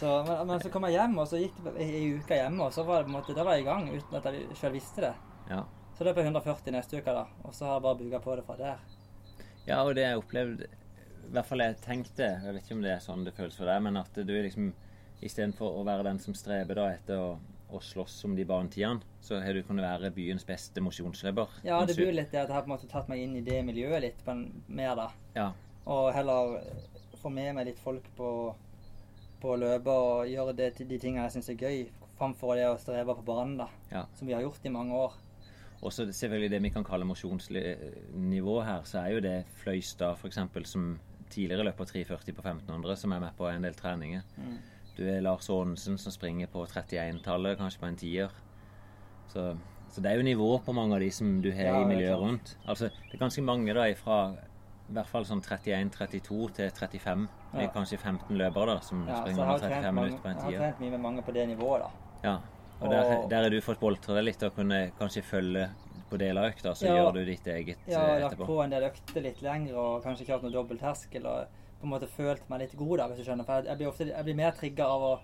Speaker 4: Så, men, men så kom jeg hjem, og så gikk det ei ei uke hjemme, og så var det på en måte, da var jeg i gang uten at jeg sjøl visste det.
Speaker 2: ja.
Speaker 4: Så løp jeg 140 neste uke, da, og så har jeg bare buga på det fra der.
Speaker 2: Ja, og det jeg opplevde I hvert fall jeg tenkte, jeg vet ikke om det er sånn det føles for deg, men at du er liksom Istedenfor å være den som streber da etter å, å slåss om de banetidene, så har du kunnet være byens beste mosjonsløper.
Speaker 4: Ja,
Speaker 2: En
Speaker 4: det
Speaker 2: su-
Speaker 4: blir jo litt det at jeg har på en måte tatt meg inn i det miljøet litt men mer, da.
Speaker 2: Ja,
Speaker 4: Og heller få med meg litt folk på, på å løpe og gjøre det til de tingene jeg syns er gøy, framfor det å streve på banen, da.
Speaker 2: Ja.
Speaker 4: Som vi har gjort i mange år.
Speaker 2: Og så selvfølgelig det vi kan kalle mosjonsnivå her, så er jo det Fløystad for eksempel, som tidligere løper 3,40 på 1500, som er med på en del treninger.
Speaker 4: Mm.
Speaker 2: Du er Lars Aanensen som springer på 31-tallet, kanskje på en tier. Så, så det er jo nivå på mange av de som du har
Speaker 4: Ja, det
Speaker 2: i
Speaker 4: er
Speaker 2: miljøet
Speaker 4: klart.
Speaker 2: rundt. Altså, det er ganske mange da fra i hvert fall sånn 31-32 til 35. Det
Speaker 4: Ja.
Speaker 2: er kanskje 15 løpere da, som
Speaker 4: Ja, så
Speaker 2: springer
Speaker 4: jeg har,
Speaker 2: under
Speaker 4: trent
Speaker 2: 35
Speaker 4: mange,
Speaker 2: minutter på
Speaker 4: jeg
Speaker 2: en
Speaker 4: har
Speaker 2: tier.
Speaker 4: trent mye med mange på det nivået, da.
Speaker 2: Ja, og der,
Speaker 4: Og-
Speaker 2: der har du fått boltre deg litt og kunne kanskje følge på deler av økta, så
Speaker 4: Ja.
Speaker 2: gjør du ditt eget
Speaker 4: Jeg
Speaker 2: eh,
Speaker 4: har lagt
Speaker 2: etterpå.
Speaker 4: på en del økter litt lengre og kanskje kjørt noe dobbeltterskel og på en måte følt meg litt god, da, hvis du skjønner. For jeg, jeg blir ofte jeg blir mer trigga av å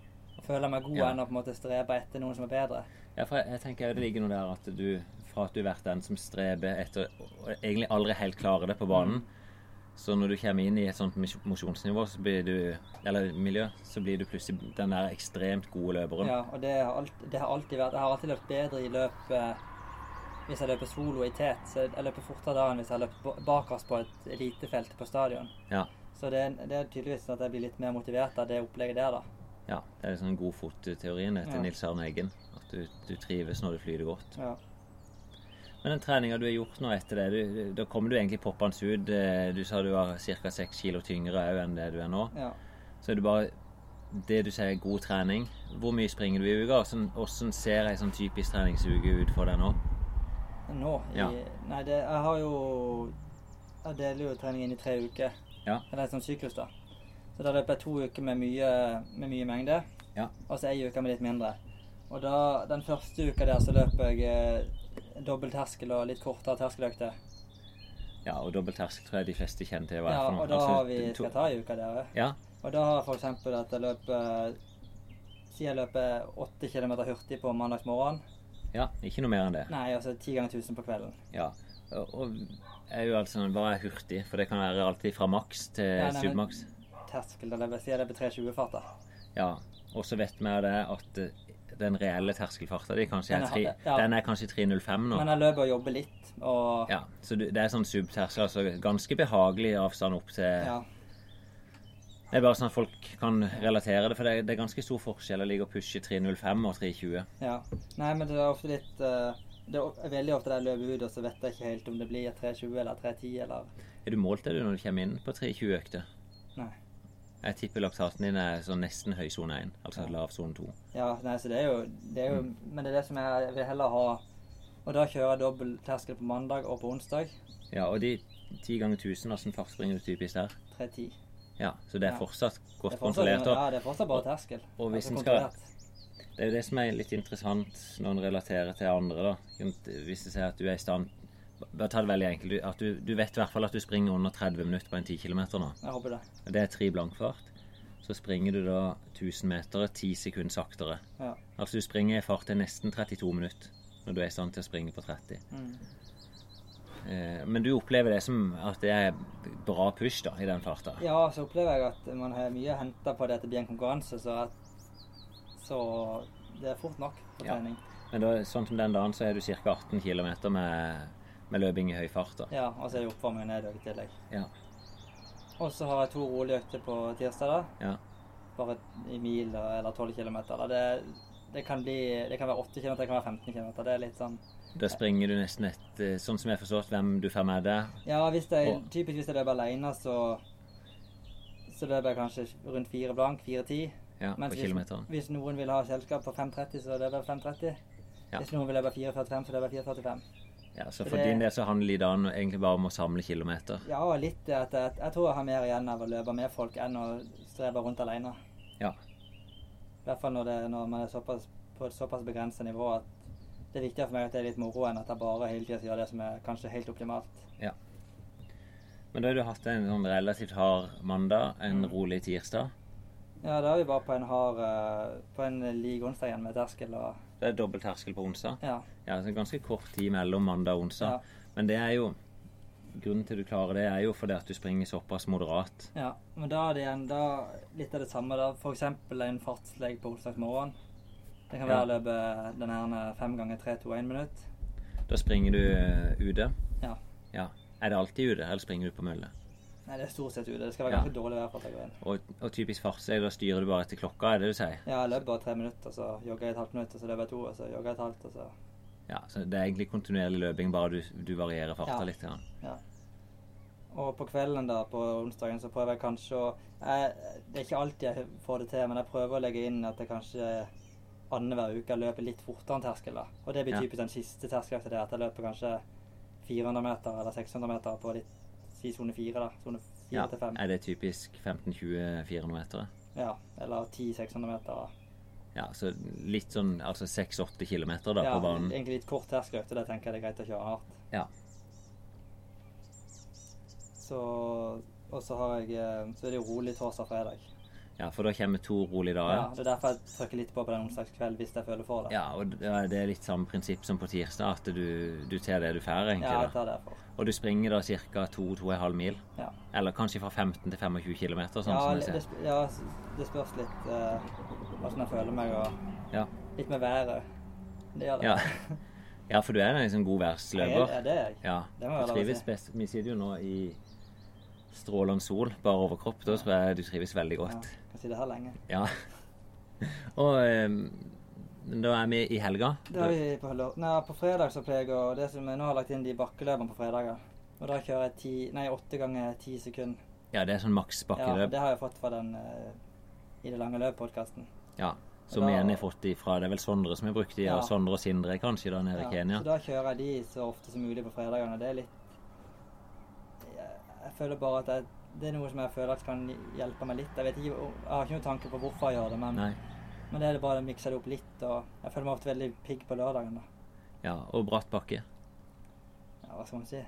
Speaker 4: føler meg god
Speaker 2: Ja.
Speaker 4: enn å på en måte strebe etter noen som er bedre.
Speaker 2: Ja, for jeg, jeg tenker det ligger noe der at du, fra at du har vært den som streber etter og egentlig aldri helt klarer det på banen, så når du kommer inn i et sånt mis- mosjonsnivå, så blir du, eller miljø, så blir du plutselig den der ekstremt gode løperen.
Speaker 4: Ja, og det har, alt, det har alltid vært Jeg har alltid løpt bedre i løp eh, hvis jeg løper solo i tet. Så jeg løper fortere da enn hvis jeg løper bakerst på et elitefelt på stadion.
Speaker 2: Ja.
Speaker 4: Så det, er- det er tydeligvis sånn at jeg blir litt mer motivert av det opplegget der, da.
Speaker 2: Ja, det er liksom den gode fotteorien etter
Speaker 4: Ja.
Speaker 2: Nils Arne Eggen. At du, du trives når du flyter godt.
Speaker 4: Ja.
Speaker 2: Men den treninga du har gjort nå etter det, du, da kommer du egentlig poppende ut. Eh, Du sa du var ca. 6 kilo tyngre òg enn det du er nå.
Speaker 4: ja.
Speaker 2: Så er det bare det du sier er god trening. Hvor mye springer du i uka? Hvordan, hvordan ser ei sånn typisk treningsuke ut for deg nå?
Speaker 4: Nå? I,
Speaker 2: Ja.
Speaker 4: Nei, det, jeg har jo Jeg deler jo trening inn i tre uker.
Speaker 2: Ja.
Speaker 4: Eller en sånn syklus, da. Så da løper jeg to uker med mye, med mye mengde.
Speaker 2: Ja.
Speaker 4: Og så ei uke med litt mindre. Og da, den første uka der så løper jeg eh, dobbel terskel og litt kortere terskeløkter.
Speaker 2: Ja, og dobbel terskel tror jeg de fleste kjenner til. hva er
Speaker 4: Ja,
Speaker 2: for noe.
Speaker 4: og da
Speaker 2: Altså,
Speaker 4: har vi
Speaker 2: to-
Speaker 4: skal ta ei uke der òg.
Speaker 2: Ja,
Speaker 4: Og da har for eksempel at jeg løper Si jeg løper åtte kilometer hurtig på mandagsmorgen.
Speaker 2: ja, ikke noe mer enn det.
Speaker 4: Nei, altså ti ganger 1000 på kvelden.
Speaker 2: Ja. Og, og er jo altså bare hurtig, for det kan være alltid fra maks til
Speaker 4: Ja, nei, men-
Speaker 2: submaks.
Speaker 4: Terskel, da løper, si jeg løper 3.20-fart, da.
Speaker 2: Ja, og så vet vi av det at eh, den reelle terskelfarten din kanskje er,
Speaker 4: Den er-
Speaker 2: tre,
Speaker 4: ja.
Speaker 2: den er kanskje 3.05 nå.
Speaker 4: Men jeg løper og jobber litt, og
Speaker 2: Ja, så du, det er sånn subterskel, altså ganske behagelig avstand opp til
Speaker 4: ja.
Speaker 2: Det er bare sånn at folk kan relatere det, for det er, det er ganske stor forskjell å ligge og pushe 3.05 og 3.20.
Speaker 4: ja. Nei, men det er ofte litt eh, Det er o- veldig ofte der jeg løper ut, og så vet jeg ikke helt om det blir 3.20 eller 3.10 eller
Speaker 2: Er du målt det du når du kommer inn på 3.20-økte?
Speaker 4: Nei.
Speaker 2: Jeg tipper laktaten din er sånn nesten høy sone 1, altså lav sone 2.
Speaker 4: Ja, nei, så det er jo, det er jo
Speaker 2: Mm.
Speaker 4: Men det er det som jeg, jeg vil heller ha Og da kjører jeg dobbel terskel på mandag og på onsdag.
Speaker 2: Ja, og de 10 ganger 1000, altså en fartspringer du typisk der.
Speaker 4: 3.10.
Speaker 2: Ja, så det er
Speaker 4: Ja.
Speaker 2: fortsatt
Speaker 4: Det
Speaker 2: godt
Speaker 4: er fortsatt,
Speaker 2: kontrollert. og-
Speaker 4: ja, det er fortsatt bare terskel.
Speaker 2: og hvis en skal-
Speaker 4: kontrollert.
Speaker 2: Det er jo det som er litt interessant når en relaterer til andre. da. Hvis det sier at du er i stand Bare ta det veldig enkelt. Du, at du, du vet i hvert fall at du springer under 30 minutter på en 10 km nå.
Speaker 4: Jeg håper det.
Speaker 2: Det er tre blankfart. Så springer du da 1000 meter 10 sekunder saktere.
Speaker 4: Ja.
Speaker 2: Altså du springer i fart til nesten 32 minutter når du er i stand til å springe på 30.
Speaker 4: Mm.
Speaker 2: Eh, men du opplever det som at det er bra push da, i den farta.
Speaker 4: Ja, så opplever jeg at man har mye å hente på det at det blir en konkurranse, så at Så det er fort nok på
Speaker 2: Ja.
Speaker 4: trening.
Speaker 2: Men da, sånn som den dagen så er du ca. 18 km med, med løping i høy fart. da.
Speaker 4: Ja, og så er det oppvarming og nedøk i tillegg.
Speaker 2: Ja.
Speaker 4: Og så har jeg to rolige økter på tirsdag, da.
Speaker 2: Ja.
Speaker 4: Bare i mil da, eller 12 km. Det, det, kan bli, det kan være 8 km, det kan være 15 km. Det er litt sånn
Speaker 2: Da springer du nesten et eh, Sånn som jeg har forstått hvem du får med deg.
Speaker 4: Ja, hvis jeg,
Speaker 2: Og-
Speaker 4: typisk hvis jeg løper alene, så så løper jeg kanskje rundt fire blank, 4.10.
Speaker 2: Ja, på
Speaker 4: Mens hvis,
Speaker 2: kilometeren.
Speaker 4: hvis noen vil ha selskap på 5.30, så løper jeg 5.30.
Speaker 2: Ja.
Speaker 4: Hvis noen vil løpe 4.45, så løper jeg 4.45.
Speaker 2: Ja, så
Speaker 4: for
Speaker 2: for
Speaker 4: det-
Speaker 2: din del så handler det i dag egentlig bare om å samle kilometer.
Speaker 4: Ja, og litt det at jeg, jeg tror jeg har mer igjen av å løpe med folk enn å streve rundt alene.
Speaker 2: Ja.
Speaker 4: I hvert fall når, det, når man er såpass, på et såpass begrenset nivå at det er viktigere for meg at det er litt moro enn at jeg bare hele tiden gjør det som er kanskje helt optimalt.
Speaker 2: Men da har du hatt en sånn relativt hard mandag, en
Speaker 4: Mm.
Speaker 2: rolig tirsdag.
Speaker 4: Ja, da er vi bare på en hard eh, På en lik onsdag igjen med terskel og
Speaker 2: Det er dobbel terskel på onsdag.
Speaker 4: Ja.
Speaker 2: Ja, så Ganske kort tid mellom mandag og onsdag.
Speaker 4: Ja.
Speaker 2: Men det er jo Grunnen til du klarer det, er jo fordi at du springer såpass moderat.
Speaker 4: ja. Men da er det igjen da litt av det samme. da. For eksempel en fartsleg på onsdag morgen. Det kan være å løpe eh, den her fem ganger tre, to, én minutt.
Speaker 2: Da springer du eh, ute.
Speaker 4: Ja.
Speaker 2: ja. Er det alltid ute, eller springer du på mølle?
Speaker 4: Nei, det er stort sett ute. Det skal være
Speaker 2: Ja.
Speaker 4: ganske dårlig vær for at jeg går inn.
Speaker 2: Og, og typisk fartsleg, da styrer du bare etter klokka, er det du sier?
Speaker 4: Ja, jeg løper bare tre minutter, så jogger jeg et halvt minutt, og så løper jeg to, og så jogger jeg et halvt, og så
Speaker 2: Ja, så Det er egentlig kontinuerlig løping, bare du, du varierer farta
Speaker 4: Ja.
Speaker 2: litt. Grann.
Speaker 4: Og på kvelden da, på onsdagen, så prøver jeg kanskje å jeg, Det er ikke alltid jeg får det til, men jeg prøver å legge inn at jeg kanskje annenhver uke løper litt fortere enn terskel. da. Og det blir
Speaker 2: Ja.
Speaker 4: typisk den siste terskelen til det, at jeg løper kanskje 400 meter eller 600 meter på litt Si sone 4, da. Sone 4
Speaker 2: Ja,
Speaker 4: til 5.
Speaker 2: Er det typisk 15-20-400 meter?
Speaker 4: Ja. Eller 10-600 meter.
Speaker 2: Ja, så litt sånn altså 6-8 kilometer da
Speaker 4: ja,
Speaker 2: på banen.
Speaker 4: Egentlig litt kort terskeløkt, og det tenker jeg det er greit å kjøre hardt.
Speaker 2: Ja.
Speaker 4: Så Og så har jeg eh, Så er det jo rolig torsdag og fredag.
Speaker 2: Ja, for da kommer to rolige dager.
Speaker 4: Ja, det er derfor jeg trykker litt på på den onsdagskvelden hvis jeg føler for det.
Speaker 2: Ja, og det er- det er litt samme prinsipp som på tirsdag, at du, du tar det du får, egentlig.
Speaker 4: Ja, jeg
Speaker 2: da.
Speaker 4: tar det for.
Speaker 2: Og du springer da ca. 2-2,5 mil.
Speaker 4: Ja.
Speaker 2: Eller kanskje fra 15 til 25 km, sånn
Speaker 4: ja,
Speaker 2: som jeg
Speaker 4: det,
Speaker 2: ser.
Speaker 4: det sp- ja, s- det spørs litt åssen jeg føler meg, og
Speaker 2: Ja.
Speaker 4: litt med været. Det gjør det.
Speaker 2: Ja. ja, for du er en liksom god
Speaker 4: Jeg er-
Speaker 2: værsløper.
Speaker 4: Ja, det er jeg.
Speaker 2: Ja.
Speaker 4: Det må jeg
Speaker 2: Du
Speaker 4: lov å
Speaker 2: trives
Speaker 4: si.
Speaker 2: best. Vi sitter jo nå i strålende sol, bare overkropp. Da tror jeg du trives veldig
Speaker 4: Ja,
Speaker 2: godt.
Speaker 4: kan si det her lenge.
Speaker 2: Ja. Og ehm, da er vi i helga.
Speaker 4: Det har vi på, lov- nei, på fredag så pleier jeg å det som jeg Nå har jeg lagt inn de bakkeløpene på fredager. Og da kjører jeg ti, nei, åtte ganger ti sekunder.
Speaker 2: Ja, det er sånn maks
Speaker 4: Ja,
Speaker 2: bakkeløp.
Speaker 4: det har jeg fått fra den eh, I det lange løp-podkasten.
Speaker 2: Ja, som
Speaker 4: Da-
Speaker 2: igjen er fått ifra Det er vel Sondre som er brukt de,
Speaker 4: Ja.
Speaker 2: og Sondre og Sindre kanskje, da nede i Kenya.
Speaker 4: så da kjører jeg de så ofte som mulig på fredagene. Det er litt Jeg, jeg føler bare at jeg, det er noe som jeg føler at kan hjelpe meg litt. Jeg vet ikke, om- jeg har ikke noen tanke på hvorfor jeg gjør det, men,
Speaker 2: Nei.
Speaker 4: men det er bare å mikse det opp litt. Og jeg føler meg ofte veldig pigg på lørdagen. Da.
Speaker 2: Ja, og bratt bakke.
Speaker 4: Ja, hva skal man si?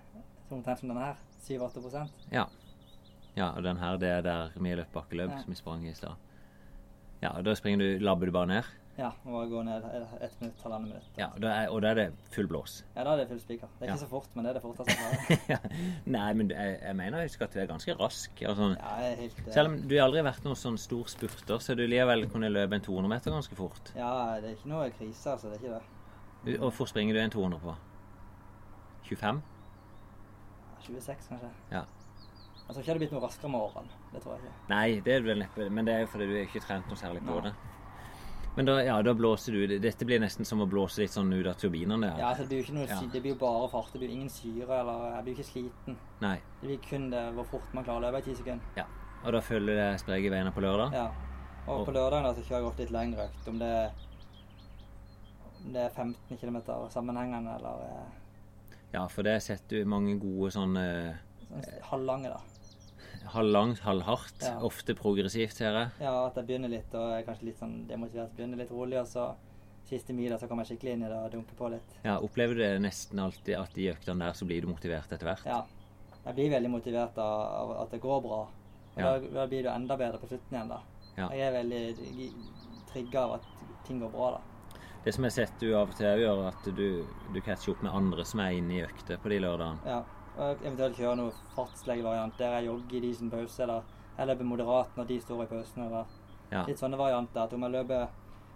Speaker 4: Så omtrent som denne her. 7-8 prosent.
Speaker 2: Ja. Ja, og den her, det er der vi løp bakkeløp,
Speaker 4: Ja.
Speaker 2: som vi sprang i stad. Ja, og da springer du, labber du bare ned.
Speaker 4: Ja, må bare gå ned ett minutt, halvannet minutt.
Speaker 2: Ja, da er, og da er det full blås.
Speaker 4: Ja, da er det full spiker. Det er ikke
Speaker 2: Ja.
Speaker 4: så fort, men det er det forteste jeg klarer.
Speaker 2: Nei, men jeg, jeg mener jeg husker at du er ganske rask. Altså,
Speaker 4: Ja, jeg er helt eh,
Speaker 2: selv om du aldri har vært noen sånn stor spurter, så du likevel kunne løpe en 200 meter ganske fort.
Speaker 4: Ja, det er ikke noe krise, altså. Det er ikke det.
Speaker 2: Og hvor springer du en 200 på? 25?
Speaker 4: 26, kanskje.
Speaker 2: Ja.
Speaker 4: Jeg tror ikke jeg hadde blitt noe raskere med årene. Det tror jeg ikke.
Speaker 2: Nei, det er det vel neppe. Men det er jo fordi du er ikke trent noe særlig på
Speaker 4: Nei.
Speaker 2: det. Men da, ja, da blåser du Dette blir nesten som å blåse litt sånn ut av turbinene.
Speaker 4: Ja,
Speaker 2: Ja.
Speaker 4: altså, det blir jo ikke noe,
Speaker 2: Ja.
Speaker 4: sy- det blir jo bare fart. Det blir jo ingen syre, eller jeg blir jo ikke sliten.
Speaker 2: Nei.
Speaker 4: Det blir kun det hvor fort man klarer å løpe i ti sekunder.
Speaker 2: Ja. Og da følger det spreke veiene på lørdag?
Speaker 4: Ja. Og på lørdagen da, så kjører jeg ofte litt lengre økt. Om det, om det er 15 km sammenhengende, eller eh,
Speaker 2: Ja, for det setter du mange gode sånn eh,
Speaker 4: sånn s- halvlange, da.
Speaker 2: halvlangt, halvhardt.
Speaker 4: Ja.
Speaker 2: Ofte progressivt, ser jeg.
Speaker 4: Ja, at jeg begynner litt, og er kanskje litt sånn demotivert. Begynner litt rolig, og så siste mila så kommer jeg skikkelig inn i det og dunker på litt.
Speaker 2: Ja, opplever du det nesten alltid at i øktene der så blir du motivert etter hvert?
Speaker 4: Ja. Jeg blir veldig motivert av, av at det går bra. Og
Speaker 2: Ja.
Speaker 4: da, da blir du enda bedre på slutten igjen, da.
Speaker 2: Ja.
Speaker 4: Jeg er veldig trigga av at ting går bra, da.
Speaker 2: Det som jeg har sett du av og til gjør, at du, du catcher opp med andre som er inne i økter på de lørdagene.
Speaker 4: Ja. Og eventuelt kjøre noe fartslegevariant der jeg jogger i de som pause, eller jeg løper moderat når de står i pausen, eller
Speaker 2: Ja.
Speaker 4: litt sånne varianter. At om jeg løper,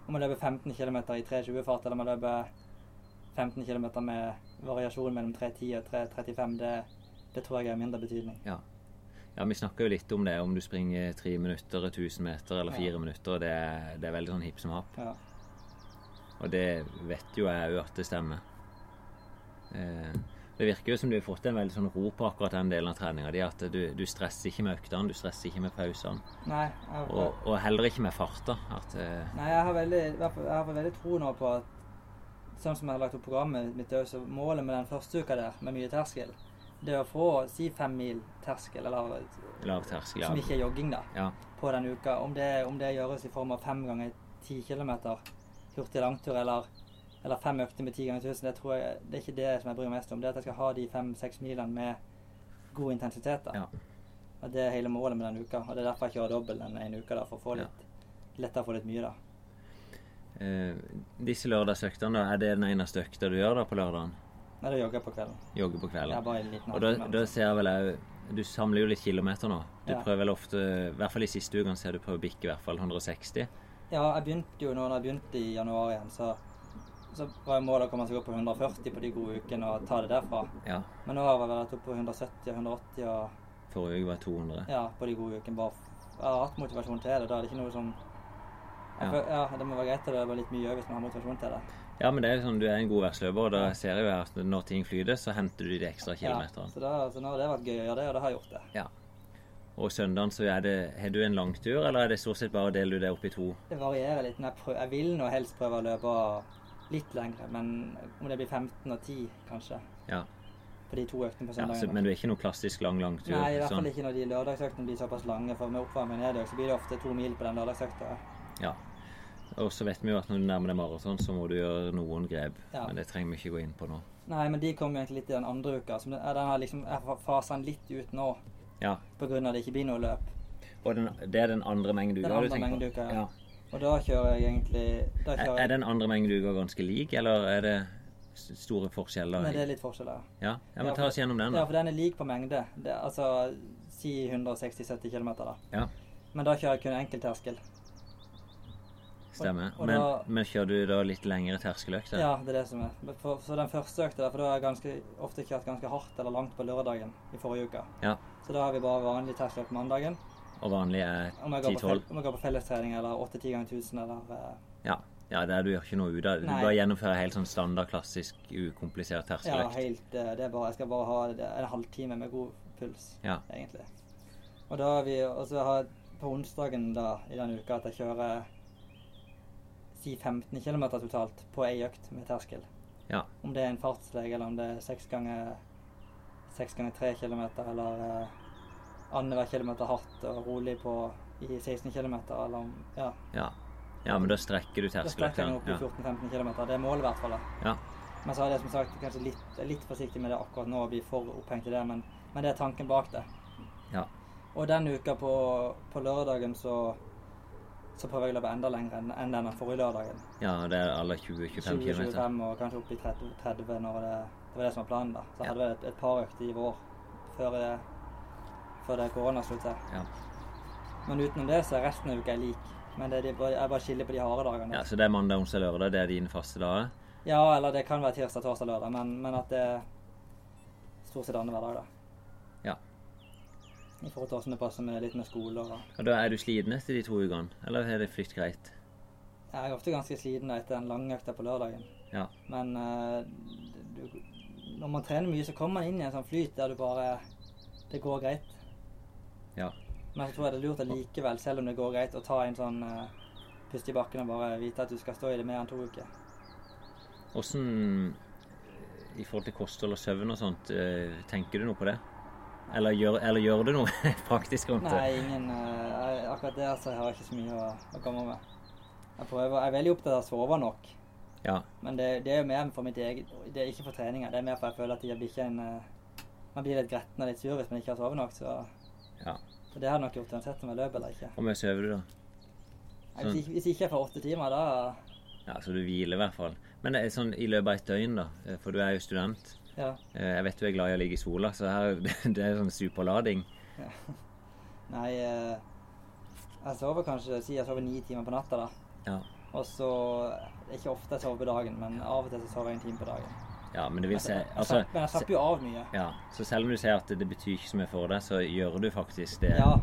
Speaker 4: om jeg løper 15 km i 3.20-fart, eller om jeg løper 15 km med variasjon mellom 3.10 og 3.35, det, det tror jeg er mindre betydning.
Speaker 2: Ja. ja, vi snakker jo litt om det, om du springer tre minutter, 1000 meter eller fire minutter. Det, er- det er veldig sånn hipp som happ.
Speaker 4: Ja.
Speaker 2: Og det vet jo jeg jo at det stemmer. Eh, det virker jo som du har fått en veldig sånn ro på akkurat den delen av treninga di. At du, du stresser ikke med øktene, du stresser ikke med pausene.
Speaker 4: Nei, jeg,
Speaker 2: Og, og heller ikke med farta. At eh,
Speaker 4: Nei, jeg har veldig, i hvert fall- jeg har veldig tro nå på at sånn som jeg har lagt opp programmet mitt, det er jo så målet med den første uka der, med mye terskel, det er å få si fem mil terskel, eller
Speaker 2: lav terskel
Speaker 4: som
Speaker 2: ja.
Speaker 4: ikke er jogging, da,
Speaker 2: ja.
Speaker 4: på den uka. Om det, om det gjøres i form av fem ganger ti kilometer hurtig langtur, eller, eller fem økter med ti ganger tusen, det tror jeg det er ikke det som jeg bryr meg mest om. Det er at jeg skal ha de fem-seks milene med god intensitet. da.
Speaker 2: Ja.
Speaker 4: Og Det er hele målet med den uka, og det er derfor jeg kjører dobbelt den ene uka, da, for å få
Speaker 2: Ja.
Speaker 4: litt, lettere å få litt mye, da.
Speaker 2: Eh, disse lørdagsøktene, da, er det den eneste økta du gjør da på lørdagen?
Speaker 4: Nei, da jogger jeg på kvelden.
Speaker 2: Jogge på
Speaker 4: Ja,
Speaker 2: kvelden?
Speaker 4: bare en liten
Speaker 2: Og da,
Speaker 4: halvtime.
Speaker 2: da ser jeg vel jeg Du samler jo litt kilometer nå. Du
Speaker 4: Ja.
Speaker 2: prøver vel ofte, i hvert fall i siste ukene, ser du prøver å bikke i hvert fall 160.
Speaker 4: Ja, jeg begynte jo nå når jeg begynte i januar igjen, så, så var jo målet å komme seg opp på 140 på de gode ukene og ta det derfra.
Speaker 2: Ja.
Speaker 4: Men nå har jeg vel vært oppe på 170 og 180 og,
Speaker 2: Forrige uke var 200.
Speaker 4: ja, på de gode ukene. Bare, f- jeg har hatt motivasjon til det. Da er det ikke noe som
Speaker 2: Ja.
Speaker 4: jeg føl- ja, det må være greit å løpe litt mye også hvis man har motivasjon til det.
Speaker 2: Ja, men det er jo sånn, du er en god værsløper, og da ser jeg jo her at når ting flyter, så henter du de ekstra
Speaker 4: Ja,
Speaker 2: kilometerne.
Speaker 4: så, da, så nå har det vært gøy å gjøre det, og det har jeg gjort det.
Speaker 2: Ja. Og søndagen så er det Har du en langtur, eller er det stort sett bare deler du det opp i to?
Speaker 4: Det varierer litt. men Jeg, prøv, jeg vil nå helst prøve å løpe litt lengre, men om det blir 15 og 10, kanskje,
Speaker 2: Ja.
Speaker 4: på de to øktene på
Speaker 2: ja
Speaker 4: søndagen.
Speaker 2: så, men du er ikke noe klassisk lang langtur?
Speaker 4: Nei, i hvert fall
Speaker 2: sånn.
Speaker 4: ikke når de lørdagsøktene blir såpass lange. For med oppvarming og nedøk så blir det ofte to mil på den lørdagsøkta.
Speaker 2: Ja. Og så vet vi jo at når du nærmer deg maraton, så må du gjøre noen grep.
Speaker 4: Ja.
Speaker 2: Men det trenger vi ikke gå inn på nå.
Speaker 4: Nei, men de kommer jo egentlig litt i den andre uka. Så den den har liksom, jeg faser den litt ut nå
Speaker 2: Ja.
Speaker 4: pga. det ikke blir noe løp.
Speaker 2: Og den, det er den andre mengduka
Speaker 4: Den
Speaker 2: du
Speaker 4: andre
Speaker 2: tenker på?
Speaker 4: mengduka, ja. Og da kjører jeg egentlig da
Speaker 2: Er,
Speaker 4: kjører
Speaker 2: er
Speaker 4: jeg,
Speaker 2: den andre mengduka ganske lik, eller er det s- store forskjeller?
Speaker 4: Nei,
Speaker 2: i-
Speaker 4: det er litt forskjell her.
Speaker 2: Ja, ja men
Speaker 4: Ja,
Speaker 2: ta oss gjennom den,
Speaker 4: Ja,
Speaker 2: da.
Speaker 4: for den er lik på mengde. Det, er altså si 160-70 km, da.
Speaker 2: Ja,
Speaker 4: Men da kjører jeg kun enkeltterskel.
Speaker 2: stemmer.
Speaker 4: Og- og
Speaker 2: Men,
Speaker 4: da-
Speaker 2: men kjører du da litt lengre terskeløkter?
Speaker 4: Ja, det er det som er. Men For, så den første økta der, for da har jeg ganske, ofte kjørt ganske hardt eller langt på lørdagen i forrige uke.
Speaker 2: Ja.
Speaker 4: Så da har vi bare vanlig terskel på mandagen.
Speaker 2: Og vanlig er
Speaker 4: Om jeg går på,
Speaker 2: 10-12?
Speaker 4: fel- om jeg går på fellestrening eller 8-10 ganger 1000 eller eh,
Speaker 2: Ja. ja, der du gjør ikke noe ut av det. Du
Speaker 4: Nei.
Speaker 2: bare gjennomfører helt sånn standard, klassisk, ukomplisert
Speaker 4: Ja,
Speaker 2: terskeløkt.
Speaker 4: helt eh, det er bare, Jeg skal bare ha det, en halvtime med god puls,
Speaker 2: Ja.
Speaker 4: egentlig. Og da har vi Og så har jeg på onsdagen da, i denne uka at jeg kjører si 15 km totalt på ei økt med terskel.
Speaker 2: Ja.
Speaker 4: Om det er en fartslege, eller om det er seks ganger seks ganger tre kilometer, eller eh, annenhver kilometer hardt og rolig på i 16 km, eller om Ja.
Speaker 2: ja. ja, men da strekker du
Speaker 4: Da strekker
Speaker 2: terskeløktene.
Speaker 4: jeg meg opp i
Speaker 2: Ja.
Speaker 4: 14-15 km. Det er målet, i hvert fall. da.
Speaker 2: ja.
Speaker 4: Men så er det som sagt kanskje litt, jeg er litt forsiktig med det akkurat nå og bli for opphengt i det, men, men det er tanken bak det.
Speaker 2: Ja.
Speaker 4: Og den uka på, på lørdagen så, så prøver jeg å løpe enda lenger enn enn den forrige lørdagen.
Speaker 2: ja, det er alle 20-25 km.
Speaker 4: 20-25 og kanskje opp i 30, 30 når det, det var det som var planen. da.
Speaker 2: Ja.
Speaker 4: Så jeg hadde vel et, et par økter i vår før det, før det korona slo til.
Speaker 2: Ja.
Speaker 4: Men utenom det så er resten av uka jeg lik. Men det er de, jeg bare skiller på de harde dagene.
Speaker 2: ja, så det er mandag, onsdag, lørdag. Det er dine faste dager?
Speaker 4: Ja, eller det kan være tirsdag, torsdag, lørdag, men, men at det er stort sett annenhver dag, da.
Speaker 2: Ja.
Speaker 4: I forhold til hvordan det passer med litt med skole og
Speaker 2: Og da er du sliten etter de to ukene? Eller er det flytt greit?
Speaker 4: Jeg er ofte ganske sliten da etter en lang økt på lørdagen,
Speaker 2: Ja.
Speaker 4: men eh, du, når man trener mye, så kommer man inn i en sånn flyt der du bare Det går greit.
Speaker 2: Ja.
Speaker 4: Men så tror jeg det er lurt allikevel, selv om det går greit, å ta en sånn eh, pust i bakken og bare vite at du skal stå i det mer enn to uker.
Speaker 2: Åssen eh, I forhold til kosthold og søvn og sånt, eh, tenker du noe på det? Eller gjør, eller gjør du noe praktisk rundt det?
Speaker 4: Nei, ingen, eh, jeg- akkurat der så har jeg ikke så mye å, å komme med. Jeg, prøver, jeg er veldig opptatt av å sove nok,
Speaker 2: Ja.
Speaker 4: men det, det er jo mer for mitt eget Det er ikke for treninga, det er mer for jeg føler at jeg blir ikke en eh, Man blir litt gretten og litt sur hvis man ikke har sovet nok, så
Speaker 2: ja.
Speaker 4: så det har jeg nok gjort uansett om jeg løper eller ikke.
Speaker 2: Hvor mye sover du, da?
Speaker 4: Jeg,
Speaker 2: Mm.
Speaker 4: hvis, ikke- hvis ikke jeg får åtte timer, da
Speaker 2: Ja, Så du hviler i hvert fall. Men det er sånn i løpet av et døgn, da, eh, for du er jo student.
Speaker 4: Ja.
Speaker 2: Eh, Jeg vet du er glad i å ligge i sola, så her, det er sånn superlading.
Speaker 4: Nei, eh, jeg sover kanskje Si jeg sover ni timer på natta, da.
Speaker 2: Ja.
Speaker 4: Og så Det er ikke ofte jeg sover på dagen, men av og til så sover jeg en time på dagen.
Speaker 2: ja, men det vil si
Speaker 4: Jeg slapp-
Speaker 2: altså,
Speaker 4: men jeg
Speaker 2: se-
Speaker 4: slapper jo av mye.
Speaker 2: ja, Så selv om du sier at det, det betyr ikke så mye for deg, så gjør du faktisk det.
Speaker 4: Ja.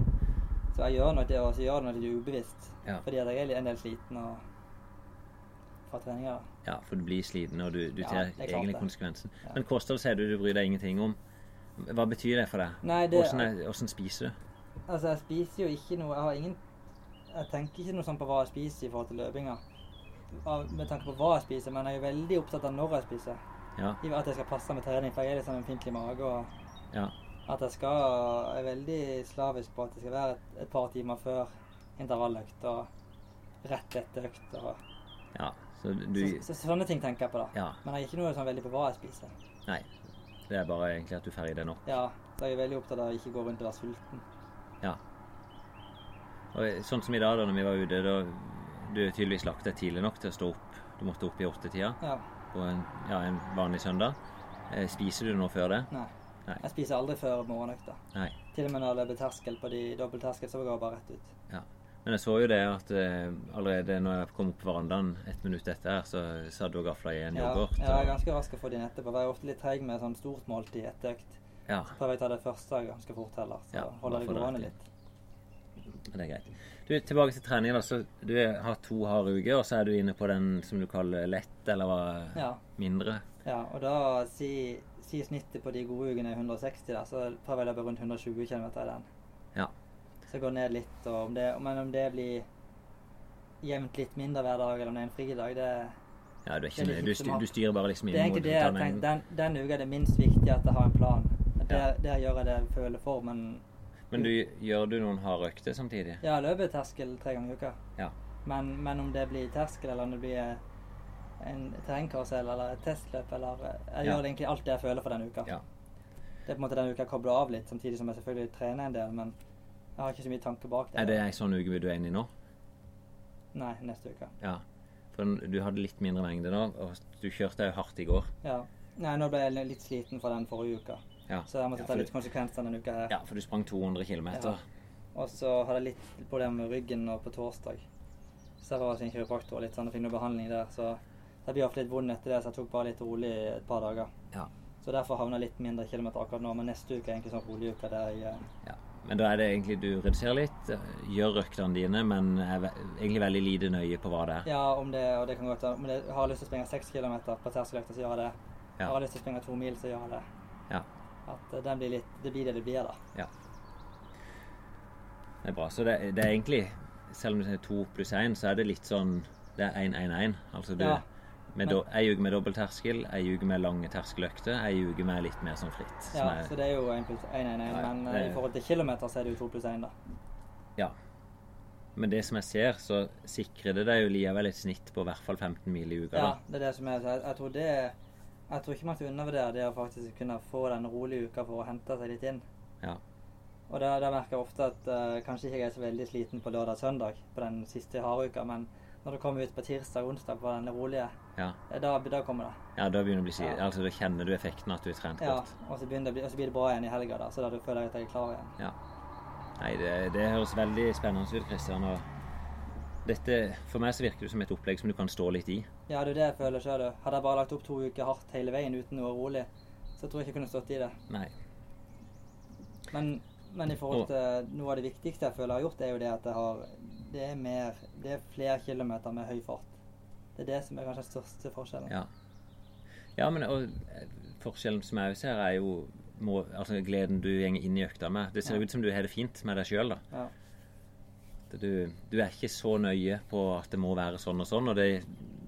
Speaker 4: Så jeg gjør noe til, og så gjør jeg noe litt ubevisst.
Speaker 2: Ja.
Speaker 4: Fordi at jeg er en del sliten og fra treninga. da.
Speaker 2: Ja, for du blir sliten, og du, du
Speaker 4: Ja,
Speaker 2: tar
Speaker 4: det er klart
Speaker 2: egentlig
Speaker 4: det.
Speaker 2: konsekvensen.
Speaker 4: Ja.
Speaker 2: Men kosthold sier du du bryr deg ingenting om. Hva betyr det for deg?
Speaker 4: Nei, det-
Speaker 2: hvordan, er, hvordan spiser du?
Speaker 4: Altså, jeg spiser jo ikke noe Jeg har ingen Jeg tenker ikke noe sånn på hva jeg spiser i forhold til løpinga. Av- Med tanke på hva jeg spiser, men jeg er veldig opptatt av når jeg spiser.
Speaker 2: Ja,
Speaker 4: I og med At jeg skal passe med trening, for jeg er litt sånn ømfintlig i mage. og
Speaker 2: ja,
Speaker 4: At jeg skal jeg er veldig slavisk på at det skal være et, et par timer før intervalløkt og rett etter økt. Og,
Speaker 2: ja. Så du
Speaker 4: så, så, sånne ting tenker jeg på, da.
Speaker 2: Ja.
Speaker 4: Men jeg er ikke noe sånn veldig på hva jeg spiser.
Speaker 2: Nei. Det er bare egentlig at du ferger deg nok.
Speaker 4: Ja, så jeg er veldig opptatt av å ikke gå rundt og være sulten.
Speaker 2: Ja. Og sånn som i dag, da når vi var ute, da du tydeligvis lagt deg tidlig nok til å stå opp. Du måtte opp i åttetida
Speaker 4: Ja,
Speaker 2: på en, ja, en vanlig søndag. Eh, Spiser du noe før det?
Speaker 4: nei.
Speaker 2: Nei.
Speaker 4: Jeg spiser aldri før morgenøkta.
Speaker 2: Nei.
Speaker 4: Til og med når jeg løper terskel på de dobbeltterskel, så går jeg bare rett ut.
Speaker 2: Ja. Men jeg så jo det at eh, allerede når jeg kom opp på verandaen et minutt etter her, så satt du og gafla i en
Speaker 4: Ja,
Speaker 2: yoghurt.
Speaker 4: jeg er
Speaker 2: og-
Speaker 4: ganske rask å få de etterpå. Jeg er ofte litt treig med sånn stort måltid etter økt.
Speaker 2: ja.
Speaker 4: Prøver jeg å ta det første ganske fort heller, så
Speaker 2: Ja,
Speaker 4: holder
Speaker 2: bare
Speaker 4: det
Speaker 2: få det
Speaker 4: gående
Speaker 2: rett
Speaker 4: litt.
Speaker 2: Det er greit. Du, tilbake til trening. da, så Du har to harde uker, og så er du inne på den som du kaller lett, eller hva?
Speaker 4: Ja.
Speaker 2: Mindre?
Speaker 4: Ja, og da si, si snittet på de gode ukene er 160, da, så prøver jeg å løpe rundt 120 km i den.
Speaker 2: Ja.
Speaker 4: Så jeg går ned litt, og om det, men om det blir jevnt litt mindre hver dag, eller om det er en fridag, det
Speaker 2: ja du, er ikke
Speaker 4: Det er
Speaker 2: nøye.
Speaker 4: litt
Speaker 2: du,
Speaker 4: hit som
Speaker 2: styr,
Speaker 4: hatt.
Speaker 2: du styrer bare liksom inn
Speaker 4: Det er egentlig
Speaker 2: mot
Speaker 4: det jeg
Speaker 2: den mengden.
Speaker 4: tenker. Den, den uka er det minst viktig at jeg har en plan. Der,
Speaker 2: Ja.
Speaker 4: der gjør jeg det jeg føler for, men
Speaker 2: Men du, gjør du noen harde økter samtidig?
Speaker 4: ja, jeg løper terskel tre ganger i uka.
Speaker 2: Ja.
Speaker 4: Men, men om det blir terskel, eller om det blir en terrengkarusell eller et testløp, eller eh, Jeg
Speaker 2: Ja.
Speaker 4: gjør egentlig alt det jeg føler for den uka.
Speaker 2: Ja.
Speaker 4: Det er på en måte den uka jeg kobler av litt, samtidig som jeg selvfølgelig trener en del, men Jeg har ikke så mye tanke bak det.
Speaker 2: Er det ei sånn uke du er inne i nå?
Speaker 4: Nei, neste uke.
Speaker 2: Ja. For du hadde litt mindre mengde nå, og du kjørte jo hardt i går.
Speaker 4: Ja. Nei, nå ble jeg li- litt sliten fra den forrige uka,
Speaker 2: Ja.
Speaker 4: så jeg måtte
Speaker 2: Ja,
Speaker 4: ta
Speaker 2: for-
Speaker 4: litt konsekvenser denne uka her.
Speaker 2: Ja, for du sprang 200 km.
Speaker 4: Ja. Og så hadde jeg litt problemer med ryggen nå på torsdag. Så jeg var hos en kiropraktor og litt sånn, og fikk noe behandling der, så det blir ofte litt vond etter det, så jeg tok bare litt rolig et par dager.
Speaker 2: Ja.
Speaker 4: Så derfor havna jeg litt mindre kilometer akkurat nå, men neste uke er egentlig sånn rolig uke der jeg eh,
Speaker 2: Ja. Men da er det egentlig du reduserer litt, eh, gjør øktene dine, men er ve egentlig veldig lite nøye på hva det er.
Speaker 4: Ja, om det, og det kan godt være Om jeg har lyst til å springe seks kilometer på terskeløkta, så gjør jeg det.
Speaker 2: Ja.
Speaker 4: Har jeg lyst til å springe to mil, så gjør jeg det.
Speaker 2: Ja.
Speaker 4: At eh, den blir litt Det blir det det blir, da.
Speaker 2: Det er bra. Så det, det er egentlig, selv om det er to pluss én, så er det litt sånn Det er 1-1-1. Altså du
Speaker 4: Ja.
Speaker 2: med do, Ei uke med dobbel terskel, ei uke med lange terskeløkter, ei uke med litt mer sånn fritt.
Speaker 4: Ja,
Speaker 2: som er-
Speaker 4: så det er jo 1 pluss 1, 1, 1,
Speaker 2: Nei,
Speaker 4: men eh,
Speaker 2: det-
Speaker 4: i forhold til kilometer så er det jo 2 pluss 1, da.
Speaker 2: Ja. Men det som jeg ser, så sikrer det deg jo likevel et snitt på i hvert fall 15 mil i uka.
Speaker 4: Ja,
Speaker 2: da.
Speaker 4: det er det som er så jeg, jeg tror det Jeg tror ikke man skal undervurdere det å faktisk kunne få den rolige uka for å hente seg litt inn.
Speaker 2: Ja.
Speaker 4: Og da, da merker jeg ofte at eh, kanskje ikke jeg er så veldig sliten på lørdag og søndag på den siste harde uka, men når du kommer ut på tirsdag og onsdag på den rolige,
Speaker 2: Ja.
Speaker 4: eh, da, da kommer det.
Speaker 2: ja, da begynner det å bli siden.
Speaker 4: Ja.
Speaker 2: Altså, da kjenner du effekten at du har trent
Speaker 4: Ja,
Speaker 2: godt.
Speaker 4: og så, begynner det, å bli- og så blir det bra igjen i helga, da, så da du føler jeg at jeg er klar igjen.
Speaker 2: Ja. Nei, det, det høres veldig spennende ut, Kristian. Og dette, for meg så virker det som et opplegg som du kan stå litt i.
Speaker 4: Ja, det er jo det jeg føler sjøl. Hadde jeg bare lagt opp to uker hardt hele veien uten noe rolig, så tror jeg ikke jeg kunne stått i det.
Speaker 2: Nei.
Speaker 4: Men, men i
Speaker 2: Og-
Speaker 4: forhold til noe av det viktigste jeg føler jeg har gjort, er jo det at jeg har Det er mer Det er flere kilometer med høy fart. Det er det som er kanskje den største forskjellen.
Speaker 2: Ja. Ja, men og, eh, forskjellen som jeg også ser, er jo må, altså, gleden du går inn i økta med. Det ser
Speaker 4: Ja.
Speaker 2: ut som du har det fint med deg sjøl, da.
Speaker 4: Ja.
Speaker 2: At Du, du er ikke så nøye på at det må være sånn og sånn, og det,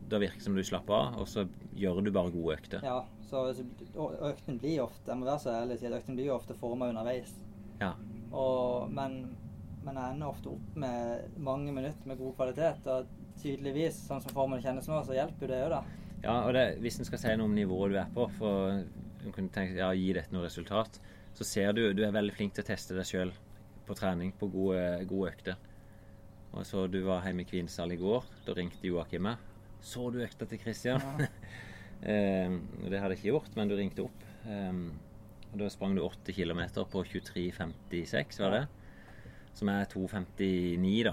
Speaker 2: da virker det som du slapper av, og så gjør du bare gode økter.
Speaker 4: ja så så- og økten blir ofte Jeg må være så ærlig og si at økten blir jo ofte forma underveis.
Speaker 2: Ja.
Speaker 4: Og, men, men jeg ender ofte opp med mange minutter med god kvalitet. Og tydeligvis, sånn som formen kjennes nå, så hjelper jo det òg, da.
Speaker 2: ja og det, hvis en skal si noe om nivået du er på, for en kunne tenke ja, gi dette noe resultat, så ser du du er veldig flink til å teste deg sjøl på trening, på gode, gode økter. Og så du var hjemme i Kvinesdal i går. Da ringte Joakim meg. Så du økta til Kristian? Eh, det hadde jeg ikke gjort, men du ringte opp. Ehm, og da sprang du 80 km på 23,56, var det? Som er 2,59 da,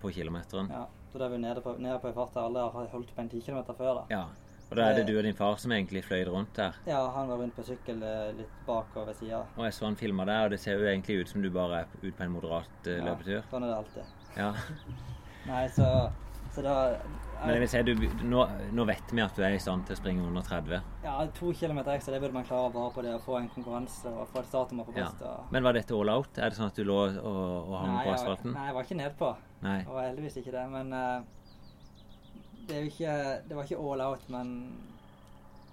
Speaker 2: på kilometeren. Ja.
Speaker 4: Ja, så da er vi nede på, nede på en fart jeg aldri har holdt på en 10 km før. da.
Speaker 2: Og da er det
Speaker 4: Det-
Speaker 2: du og din far som egentlig fløy rundt der.
Speaker 4: Ja, han var rundt på sykkel eh, litt bak og ved sida.
Speaker 2: Og jeg så han filma der, og det ser jo egentlig ut som du bare er ute på en moderat eh, løpetur.
Speaker 4: sånn er det alltid.
Speaker 2: Ja.
Speaker 4: Nei, så, så da
Speaker 2: Men jeg vil si, du, nå, nå vet vi at du er i stand til å springe under 30.
Speaker 4: Ja, to kilometer ekstra, det burde man klare bare på det å få en konkurranse og få et startnummer på
Speaker 2: Ja.
Speaker 4: brystet. og-
Speaker 2: Men var dette all out? Er det sånn at du lå og, og hang
Speaker 4: Nei,
Speaker 2: på
Speaker 4: jeg,
Speaker 2: asfalten?
Speaker 4: nei, jeg var ikke nedpå.
Speaker 2: Nei.
Speaker 4: Jeg var heldigvis ikke det, men eh, det, er jo ikke, det var ikke all out, men,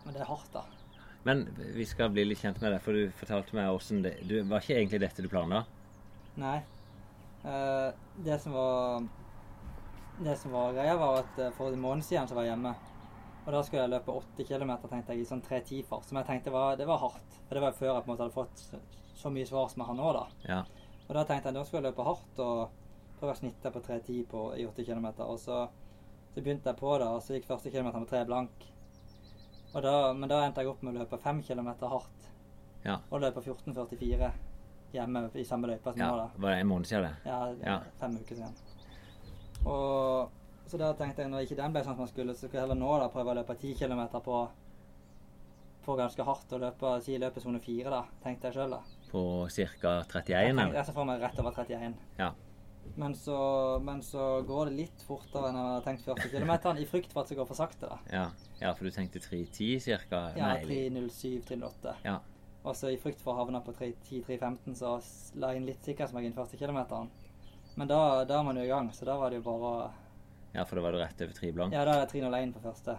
Speaker 4: men det er hardt, da.
Speaker 2: Men vi skal bli litt kjent med deg, for du fortalte meg hvordan det du, Var ikke egentlig dette du planla?
Speaker 4: Nei. Eh, det som var Det som var greia, var at eh, for en måned siden så var jeg hjemme. Og da skulle jeg løpe 80 km, tenkte jeg, i sånn 3.10 fart. Som jeg tenkte var, det var hardt. For det var før jeg på en måte hadde fått så- så mye svar som jeg har nå, da.
Speaker 2: Ja.
Speaker 4: Og da tenkte jeg da skulle jeg løpe hardt og prøve å snitte på 3.10 på- i 80 km. Og så, så begynte jeg på det, og så gikk første kilometeren på 3 blank. Og da, men da endte jeg opp med å løpe 5 km hardt.
Speaker 2: Ja.
Speaker 4: Og løpe 14.44 hjemme i samme løypa som
Speaker 2: ja.
Speaker 4: nå, da.
Speaker 2: Var det en måned siden? det?
Speaker 4: Ja,
Speaker 2: Ja.
Speaker 4: fem uker siden. Og så da tenkte jeg når ikke den ble sånn som man skulle, så skulle jeg heller nå da prøve å løpe 10 km på, på ganske hardt og løpe si løpe sone 4, da, tenkte jeg sjøl. da.
Speaker 2: På ca.
Speaker 4: Jeg
Speaker 2: 31?
Speaker 4: tenkte-
Speaker 2: eller?
Speaker 4: jeg så for meg rett over 31.
Speaker 2: Ja.
Speaker 4: Men så, men så går det litt fortere enn jeg hadde tenkt første kilometeren, i frykt for at det går for sakte. da.
Speaker 2: Ja. ja, for du tenkte 3.10 ca.?
Speaker 4: Ja,
Speaker 2: Nei. litt-
Speaker 4: 3.07, 3.08.
Speaker 2: Ja.
Speaker 4: Og så i frykt for å havne på 3.10-3.15, så s- la jeg inn litt sikkerhetsmargin første kilometeren. Men da, da er man jo i gang, så da var det jo bare å
Speaker 2: ja, for da var du rett over 3 blank?
Speaker 4: Ja, da er det 3-0-1 på første.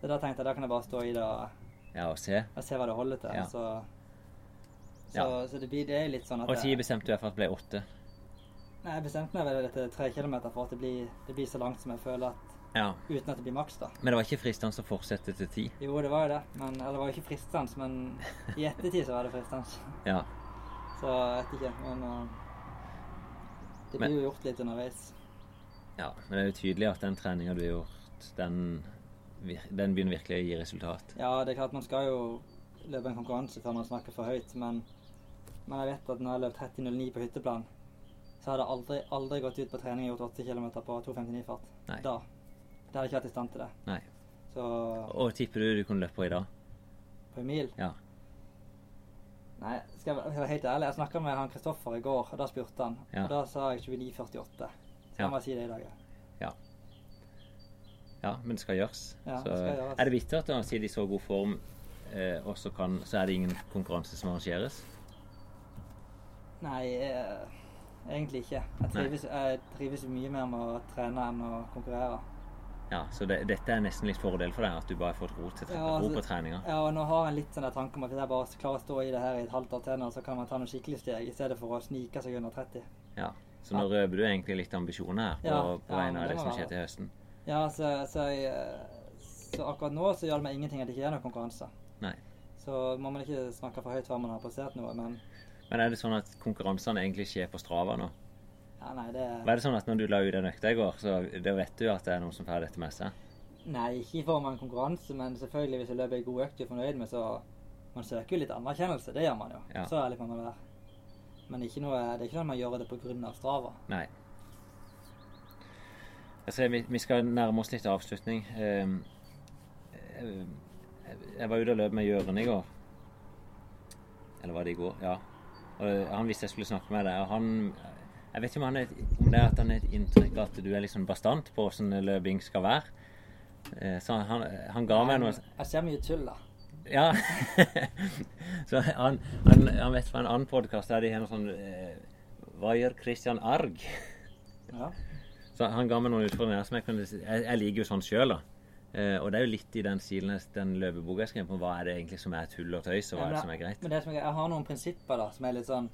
Speaker 4: Så da tenkte jeg da kan jeg bare stå i det og
Speaker 2: Ja, og se.
Speaker 4: og se hva det holder til.
Speaker 2: Ja.
Speaker 4: Så, så,
Speaker 2: Ja.
Speaker 4: så det, blir, det er litt sånn at
Speaker 2: Og 10
Speaker 4: jeg,
Speaker 2: bestemte du i hvert fall ble 8.
Speaker 4: Nei, jeg bestemte meg ved dette tre kilometer for at det blir, det blir så langt som jeg føler at
Speaker 2: Ja.
Speaker 4: Uten at det blir maks, da.
Speaker 2: Men det var ikke fristende å fortsette til 10?
Speaker 4: Jo, det var jo det. Men, eller det var jo ikke fristende, men i ettertid så var det fristende.
Speaker 2: Ja.
Speaker 4: Så jeg vet ikke. Men øh, eh, Det
Speaker 2: Men-
Speaker 4: blir jo gjort litt underveis.
Speaker 2: Ja, men det er jo tydelig at den treninga du har gjort, den, vir- den begynner virkelig å gi resultat.
Speaker 4: Ja, det er klart man skal jo løpe en konkurranse før man snakker for høyt, men, men jeg vet at når jeg løp 30,09 på hytteplan, så hadde jeg aldri, aldri gått ut på trening og gjort 8 km på 2,59 fart.
Speaker 2: Nei.
Speaker 4: Da. Da hadde jeg ikke vært i stand til det.
Speaker 2: Nei.
Speaker 4: Så
Speaker 2: Og tipper du du kunne løpt på i dag?
Speaker 4: på en mil
Speaker 2: Ja.
Speaker 4: Nei, skal jeg være- skal jeg være helt ærlig, jeg snakka med han Kristoffer i går, og da spurte han.
Speaker 2: Ja.
Speaker 4: Og da sa jeg 29,48. Så
Speaker 2: Ja.
Speaker 4: jeg må si det i dag, ja.
Speaker 2: Ja, men det skal gjøres.
Speaker 4: Ja,
Speaker 2: så
Speaker 4: det skal gjøres.
Speaker 2: er det bittert å si de er i så god form, eh, og så kan- så er det ingen konkurranse som arrangeres?
Speaker 4: Nei, eh, egentlig ikke. Jeg trives, jeg trives mye mer med å trene enn å konkurrere.
Speaker 2: Ja, så det, dette er nesten litt fordel for deg, at du bare har fått ro, til, tre-
Speaker 4: Ja, altså-
Speaker 2: ro på treninga.
Speaker 4: Ja, og nå har jeg litt sånn der tanke om at hvis jeg bare klarer å stå i det her i et halvt år til nå, så kan man ta noen skikkelig steg, i stedet for å snike seg under 30.
Speaker 2: Ja. Så nå røper du egentlig litt ambisjoner her på,
Speaker 4: Ja,
Speaker 2: på
Speaker 4: ja,
Speaker 2: vegne
Speaker 4: men
Speaker 2: av
Speaker 4: det
Speaker 2: det
Speaker 4: må
Speaker 2: som
Speaker 4: være
Speaker 2: skjer
Speaker 4: det.
Speaker 2: til høsten.
Speaker 4: Ja, så, så, jeg, eh, så akkurat nå så gjør det meg ingenting at det ikke er noen konkurranse.
Speaker 2: Nei.
Speaker 4: Så må man ikke snakke for høyt før man har passert noe, men
Speaker 2: Men er det sånn at konkurransene egentlig skjer på Strava nå?
Speaker 4: ja, nei, det
Speaker 2: Var det sånn at når du la ut den økta i går, så da vet du at det er noen som får dette med seg?
Speaker 4: Nei, ikke i form av en konkurranse, men selvfølgelig hvis jeg løper en god økt du er fornøyd med, så Man søker jo litt anerkjennelse, det gjør man jo.
Speaker 2: Ja.
Speaker 4: Så ærlig må man være. Men ikke noe, det er ikke sånn at man gjør det på grunn av Strava.
Speaker 2: Nei. Jeg ser vi, vi skal nærme oss litt avslutning. Ehm, eh, Jeg var ute og løp med Gjøren i går. Eller var det i går? Ja. Og eh, han visste jeg skulle snakke med deg. og Han, jeg vet ikke om, han er, et- om det er at han er et inntrykk av at du er litt sånn bastant på hvordan løping skal være. Eh, Så han, han ga meg noe
Speaker 4: Jeg ser mye tull, da.
Speaker 2: ja. så han, han, han vet fra en annen podkast der de har noe sånn eh, Hva gjør Christian Arg?
Speaker 4: Ja.
Speaker 2: Så han ga meg noen utfordringer som jeg kunne si- Jeg, jeg liker jo sånn sjøl, da. Eh, og det er jo litt i den stilen jeg- den løpeboka jeg skrev på. Hva er det egentlig som er tull og tøys, og hva er
Speaker 4: Ja, men
Speaker 2: det som er greit?
Speaker 4: Men det som er, greit- jeg har noen prinsipper da, som er litt sånn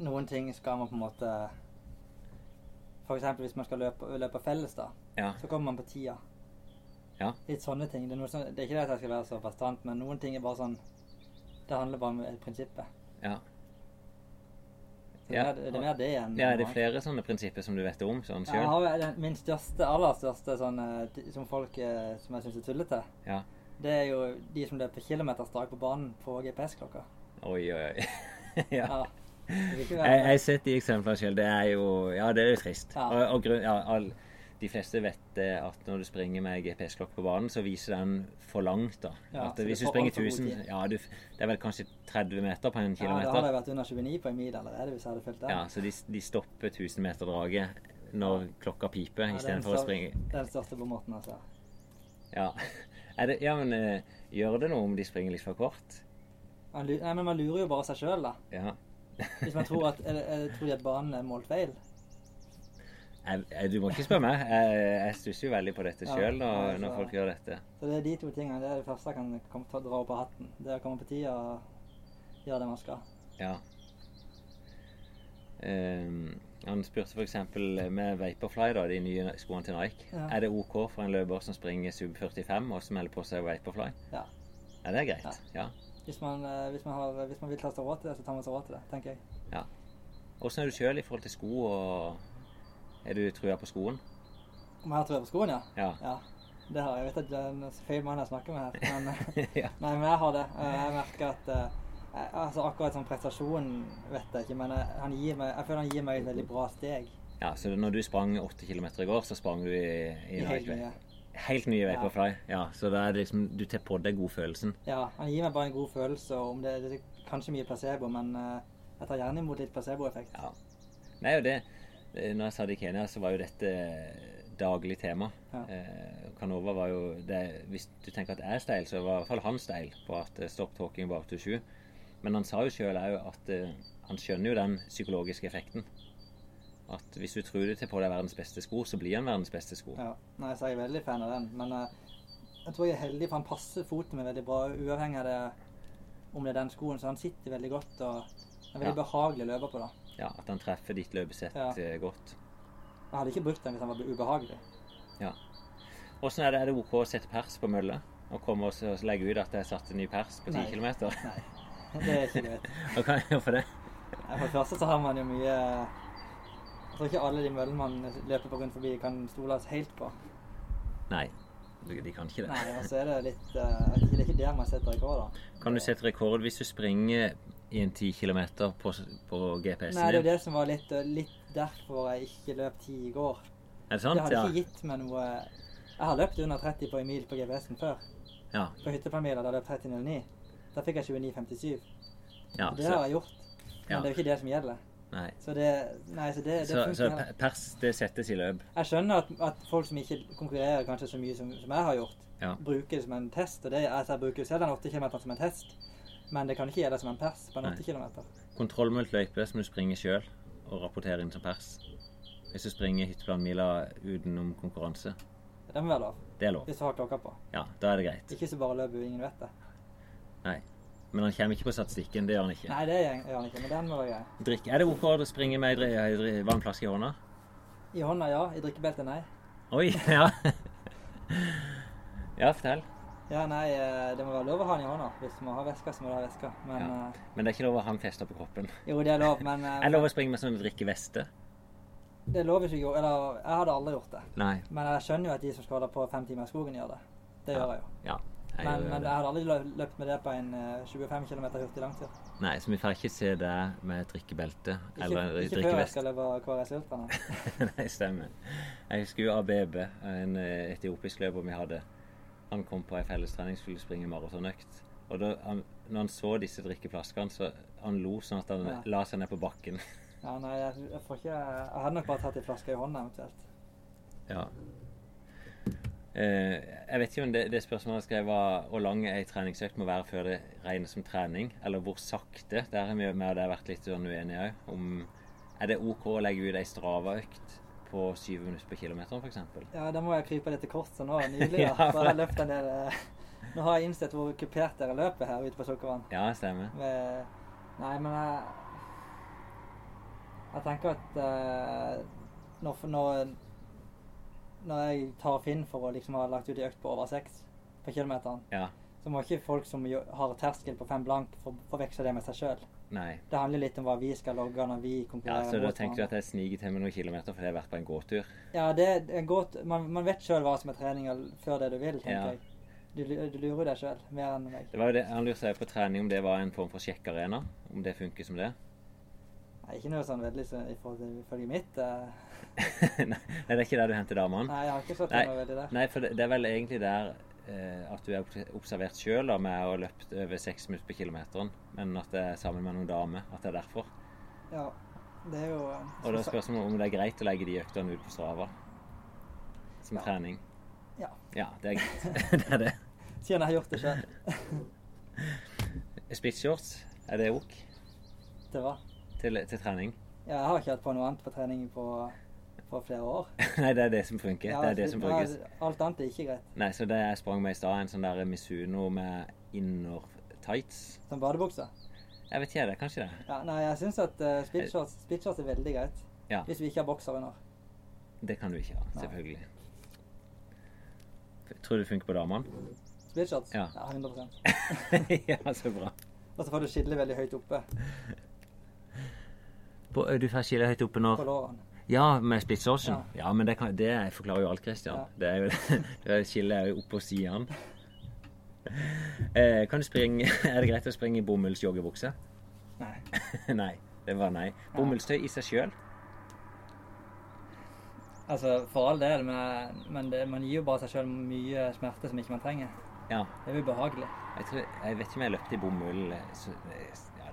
Speaker 4: Noen ting skal man på en måte For eksempel hvis man skal løpe, løpe felles, da,
Speaker 2: Ja.
Speaker 4: så kommer man på tida.
Speaker 2: Ja.
Speaker 4: Litt sånne ting. Det er, noe sånn, det er ikke det at jeg skal være så bastant, men noen ting er bare sånn Det handler bare om eh, prinsippet.
Speaker 2: ja.
Speaker 4: Så
Speaker 2: Ja.
Speaker 4: det, er, det er mer det enn
Speaker 2: Ja, er det
Speaker 4: noe
Speaker 2: flere sånne prinsipper som du vet om sånn
Speaker 4: annet. Jeg
Speaker 2: sjøl?
Speaker 4: har vel den- Min største, aller største sånn eh, d- som folk eh, som jeg syns er tullete,
Speaker 2: Ja.
Speaker 4: det er jo de som løper kilometerstrak på banen på GPS-klokka.
Speaker 2: Oi, oi, oi. ja.
Speaker 4: Ja. Det vil ikke være-
Speaker 2: Jeg, jeg har sett de eksemplene selv. Det er jo Ja, det er jo trist.
Speaker 4: Ja.
Speaker 2: Og, og grunn, ja, all, de fleste vet det at når du springer med GPS-klokke på banen, så viser den for langt, da.
Speaker 4: Ja,
Speaker 2: at
Speaker 4: så
Speaker 2: hvis
Speaker 4: du
Speaker 2: du
Speaker 4: får
Speaker 2: springer
Speaker 4: altfor god
Speaker 2: 1000
Speaker 4: tid.
Speaker 2: Ja, du, f- det er vel kanskje 30 meter på en
Speaker 4: Ja, da hadde
Speaker 2: kilometer.
Speaker 4: jeg vært under 29 på en mil allerede hvis jeg hadde fulgt den.
Speaker 2: Ja, så de, de stopper 1000 meter-draget når klokka piper,
Speaker 4: Ja,
Speaker 2: i
Speaker 4: den
Speaker 2: stedet istedenfor å
Speaker 4: stør-
Speaker 2: springe
Speaker 4: Den største på måten, altså.
Speaker 2: Ja. Er det, ja, men eh, gjør det noe om de springer litt for kort?
Speaker 4: Man, lu- nei, men man lurer jo bare seg sjøl, da.
Speaker 2: Ja.
Speaker 4: Hvis man tror at, eller, eller, tror de at banen er målt feil.
Speaker 2: Jeg, jeg, du må ikke spørre meg. Jeg, jeg stusser jo veldig på dette
Speaker 4: Ja,
Speaker 2: sjøl
Speaker 4: ja,
Speaker 2: når,
Speaker 4: altså-
Speaker 2: når folk gjør dette.
Speaker 4: Så det er de to tingene. Det er det første jeg kan komme til å dra opp av hatten. Det er å komme på tida og gjøre det man skal.
Speaker 2: Ja. Ehm, han spurte f.eks. med Vaporfly, da, de nye skoene til Nike.
Speaker 4: Ja.
Speaker 2: Er det OK for en løper som springer sub 45 og som melder på seg Vaporfly?
Speaker 4: Ja.
Speaker 2: Ja, det er greit. Ja.
Speaker 4: Hvis man, eh, hvis man, har, hvis man vil ta seg råd til det, så tar man seg råd til det, tenker jeg.
Speaker 2: Åssen er du sjøl i forhold til sko og Er du trua på skoen?
Speaker 4: Om jeg har trøye på skoen, ja?
Speaker 2: Ja.
Speaker 4: Ja. Det har jeg. Jeg vet at det er en feil mann jeg snakker med her. Men, eh,
Speaker 2: ja.
Speaker 4: Nei, men jeg har det. Eh, Jeg merker at eh, jeg- altså Akkurat sånn prestasjon vet jeg ikke, men jeg, han gir meg, jeg føler han gir meg et veldig bra steg.
Speaker 2: ja. Så når du sprang 8 km i går, så sprang du i, i
Speaker 4: I helt
Speaker 2: Nike?
Speaker 4: mye.
Speaker 2: Helt nye Vaporfly. Ja. Så da er det liksom Du tar på deg godfølelsen.
Speaker 4: Ja, han gir meg bare en god følelse, og om det, det er kanskje mye placebo, men eh, jeg tar gjerne imot litt placeboeffekt.
Speaker 2: Ja. Nei, og det eh, Når jeg sa det i Kenya, så var jo dette eh, daglig tema.
Speaker 4: Ja.
Speaker 2: Eh, Canova var jo det, Hvis du tenker at jeg er steil, så var i hvert fall han steil på at eh, stop talking bak til sju. Men han sa jo sjøl òg at eh, han skjønner jo den psykologiske effekten. At hvis du tror du tar på deg verdens beste sko, så blir han verdens beste sko.
Speaker 4: Ja. Nei, så er jeg veldig fan av den, men eh, jeg tror jeg er heldig, for han passer foten min veldig bra, uavhengig av det, om det er den skoen, så han sitter veldig godt, og er veldig
Speaker 2: Ja.
Speaker 4: behagelig å løpe på da.
Speaker 2: Ja, At han treffer ditt løpesett
Speaker 4: Ja.
Speaker 2: eh, godt.
Speaker 4: Jeg hadde ikke brukt den hvis han var ubehagelig.
Speaker 2: Åssen er det? Er det OK å sette pers på mølle? Og komme og så legge ut at jeg satte ny pers på 10
Speaker 4: Nei.
Speaker 2: km?
Speaker 4: Nei, det er ikke greit.
Speaker 2: Hva kan jeg gjøre for det?
Speaker 4: Nei, For det første så har man jo mye tror ikke alle de møllene man løper på rundt forbi, kan stole oss helt på.
Speaker 2: Nei, de de kan ikke det.
Speaker 4: Nei, og så er det litt eh, Det er ikke der man setter rekorder.
Speaker 2: Kan du sette rekord hvis du springer i en 10 km på, på
Speaker 4: Nei, det
Speaker 2: GPS-en
Speaker 4: er jo
Speaker 2: din?
Speaker 4: det som var litt, eh, litt derfor jeg ikke løp ti i går.
Speaker 2: Er det
Speaker 4: Det
Speaker 2: sant?
Speaker 4: hadde
Speaker 2: Ja.
Speaker 4: ikke gitt meg noe Jeg har løpt under 30 på en mil på GPS-en før.
Speaker 2: Ja,
Speaker 4: På hytteplanmila da jeg løp 30,09. Da fikk jeg 29,57.
Speaker 2: ja,
Speaker 4: Det
Speaker 2: så,
Speaker 4: har jeg gjort. Men
Speaker 2: Ja.
Speaker 4: det er jo ikke det som gjelder.
Speaker 2: nei.
Speaker 4: Så det Nei, så det, det
Speaker 2: Så,
Speaker 4: funker
Speaker 2: så
Speaker 4: heller.
Speaker 2: pe- pers, det settes i løp.
Speaker 4: Jeg skjønner at, at folk som ikke konkurrerer kanskje så mye som, som jeg har gjort,
Speaker 2: Ja.
Speaker 4: bruker det som en test. Og det, altså, jeg bruker jo selv den 8 km som en test, men det kan ikke gjelde som en pers på en
Speaker 2: Nei.
Speaker 4: 8 km.
Speaker 2: Kontroll med løype som du springer sjøl, og rapporterer inn som pers. Hvis du springer hytteplanmila utenom konkurranse.
Speaker 4: Det må være lov,
Speaker 2: Det er lov.
Speaker 4: hvis du har klokka på.
Speaker 2: Ja, da er det greit.
Speaker 4: Ikke så bare løper ingen vet det.
Speaker 2: Nei. Men han kommer ikke på statistikken. Det gjør han ikke.
Speaker 4: Nei, det gjør han ikke, men den må være grei.
Speaker 2: Drikk. Er det OK å springe med ei dri- ei dri- vannflaske i hånda?
Speaker 4: I hånda ja, i drikkebeltet nei.
Speaker 2: Oi! Ja. ja, fortell.
Speaker 4: Ja, nei, eh, det må være lov å ha den i hånda. Hvis man har veska, så må du ha veska. Men
Speaker 2: Ja.
Speaker 4: eh,
Speaker 2: Men det er ikke lov å ha en fester på kroppen.
Speaker 4: Jo, det er lov, men eh,
Speaker 2: Er det lov å springe med sånn drikkeveste?
Speaker 4: det er lov hvis du gjorde Eller jeg hadde aldri gjort det.
Speaker 2: Nei.
Speaker 4: Men jeg skjønner jo at de som skal holde på fem timer i skogen, gjør det. Det
Speaker 2: Ja,
Speaker 4: gjør jeg jo.
Speaker 2: Ja. Jeg
Speaker 4: Men,
Speaker 2: gjør
Speaker 4: men
Speaker 2: det.
Speaker 4: jeg hadde aldri lø- løpt med det på en eh, 25 km hurtig langtur.
Speaker 2: Nei, så vi får ikke se deg med et drikkebelte
Speaker 4: Ikke,
Speaker 2: eller en
Speaker 4: ikke før jeg
Speaker 2: drikkevest.
Speaker 4: skal løpe KRS Ultra. nei.
Speaker 2: Nei, stemmer. Jeg husker jo ABB, en eh, etiopisk løper vi hadde. Han kom på ei fellestrening, skulle springe maratonøkt. Og da han, når han så disse drikkeflaskene, så han lo sånn at han
Speaker 4: Ja.
Speaker 2: la seg ned på bakken.
Speaker 4: Ja, nei, jeg, jeg får ikke Jeg hadde nok bare tatt ei flaske i hånda, eventuelt.
Speaker 2: Ja. Eh, jeg vet ikke om det, det spørsmålet jeg skrev var hvor lang ei treningsøkt må være før det regnes som trening, eller hvor sakte. Der har vi med og det har vært litt sånn uenige òg. Om er det OK å legge ut ei Strava-økt på syv minutter på kilometeren, f.eks.?
Speaker 4: Ja, da må jeg krype litt til korset nå nylig.
Speaker 2: Ja,
Speaker 4: da. For jeg
Speaker 2: for-
Speaker 4: har løpt en del eh, Nå har jeg innsett hvor kupert dere løper her ute på Sukkervann.
Speaker 2: Ja, stemmer.
Speaker 4: Med, nei, men jeg, jeg tenker at eh, når, når, når jeg tar Finn for å liksom ha lagt ut i økt på over seks på kilometeren,
Speaker 2: Ja.
Speaker 4: så må ikke folk som jo- har terskel på fem blank, for- forveksle det med seg sjøl.
Speaker 2: Nei.
Speaker 4: Det handler litt om hva vi skal logge når vi
Speaker 2: Ja,
Speaker 4: konkurrerer.
Speaker 2: Så da
Speaker 4: mot
Speaker 2: tenker du at
Speaker 4: hverandre.
Speaker 2: jeg sniker til meg noen kilometer fordi jeg har vært på en gåtur?
Speaker 4: Ja, det det er godt. Man, man vet sjøl hva som er trening og før det du vil,
Speaker 2: Ja.
Speaker 4: tenker jeg. Du, lu- du lurer deg sjøl mer enn meg.
Speaker 2: Det var jo det, Han lurte seg på trening om det var en form for sjekkarena. Om det funker som det.
Speaker 4: Nei, ikke noe sånn veldig sånn i forhold til ifølge mitt. eh.
Speaker 2: Nei, det er ikke der du henter damene?
Speaker 4: Nei, jeg har ikke sett
Speaker 2: Mm. Nei.
Speaker 4: noe veldig der.
Speaker 2: Nei, for det, det er vel egentlig der eh, at du er obs- observert sjøl med å ha løpt over seks minutter på kilometeren, men at det er sammen med noen dame. At det er derfor.
Speaker 4: Ja, det er jo eh,
Speaker 2: Og da er spørsmålet om det er greit å legge de øktene ut på Strava som
Speaker 4: Ja.
Speaker 2: trening.
Speaker 4: Ja.
Speaker 2: Ja, det er greit. det er det.
Speaker 4: Siden jeg har gjort det sjøl.
Speaker 2: Splitshorts, er det ok
Speaker 4: Det var.
Speaker 2: til, til trening?
Speaker 4: Ja, jeg har ikke hatt på noe annet på trening på, på flere år.
Speaker 2: Nei, det er det som funker.
Speaker 4: Ja,
Speaker 2: det er det som brukes.
Speaker 4: ja, Alt annet er ikke greit.
Speaker 2: Nei, så det jeg sprang med i stad, en sånn der Misuno med inner tights.
Speaker 4: Som badebukse.
Speaker 2: Jeg vet ikke, det er kanskje det.
Speaker 4: Ja, nei, jeg syns at uh, splitshorts splitshorts er veldig greit.
Speaker 2: Ja.
Speaker 4: Hvis vi ikke har bokser under.
Speaker 2: Det kan du ikke ha,
Speaker 4: Nei.
Speaker 2: selvfølgelig. Tror du det funker på damene?
Speaker 4: Splitshorts?
Speaker 2: Ja.
Speaker 4: 100
Speaker 2: ja, så bra.
Speaker 4: Og så får du skille veldig høyt oppe
Speaker 2: På, du får skille høyt oppe når
Speaker 4: på lårene.
Speaker 2: Ja, med splitshortsen? Ja. men det, kan, det forklarer jo alt, Christian.
Speaker 4: Ja.
Speaker 2: Det er jo det skillet er jo opp på siden. Eh, kan du springe Er det greit å springe i bomullsjoggebukse?
Speaker 4: Nei.
Speaker 2: nei. Det var nei. Bomullstøy i seg sjøl?
Speaker 4: Altså, for all del, men, men det, man gir jo bare seg sjøl mye smerte som ikke man trenger.
Speaker 2: Ja.
Speaker 4: Det er ubehagelig.
Speaker 2: Jeg, tror, jeg vet ikke om jeg løpte i bomull eh, så, eh, ja,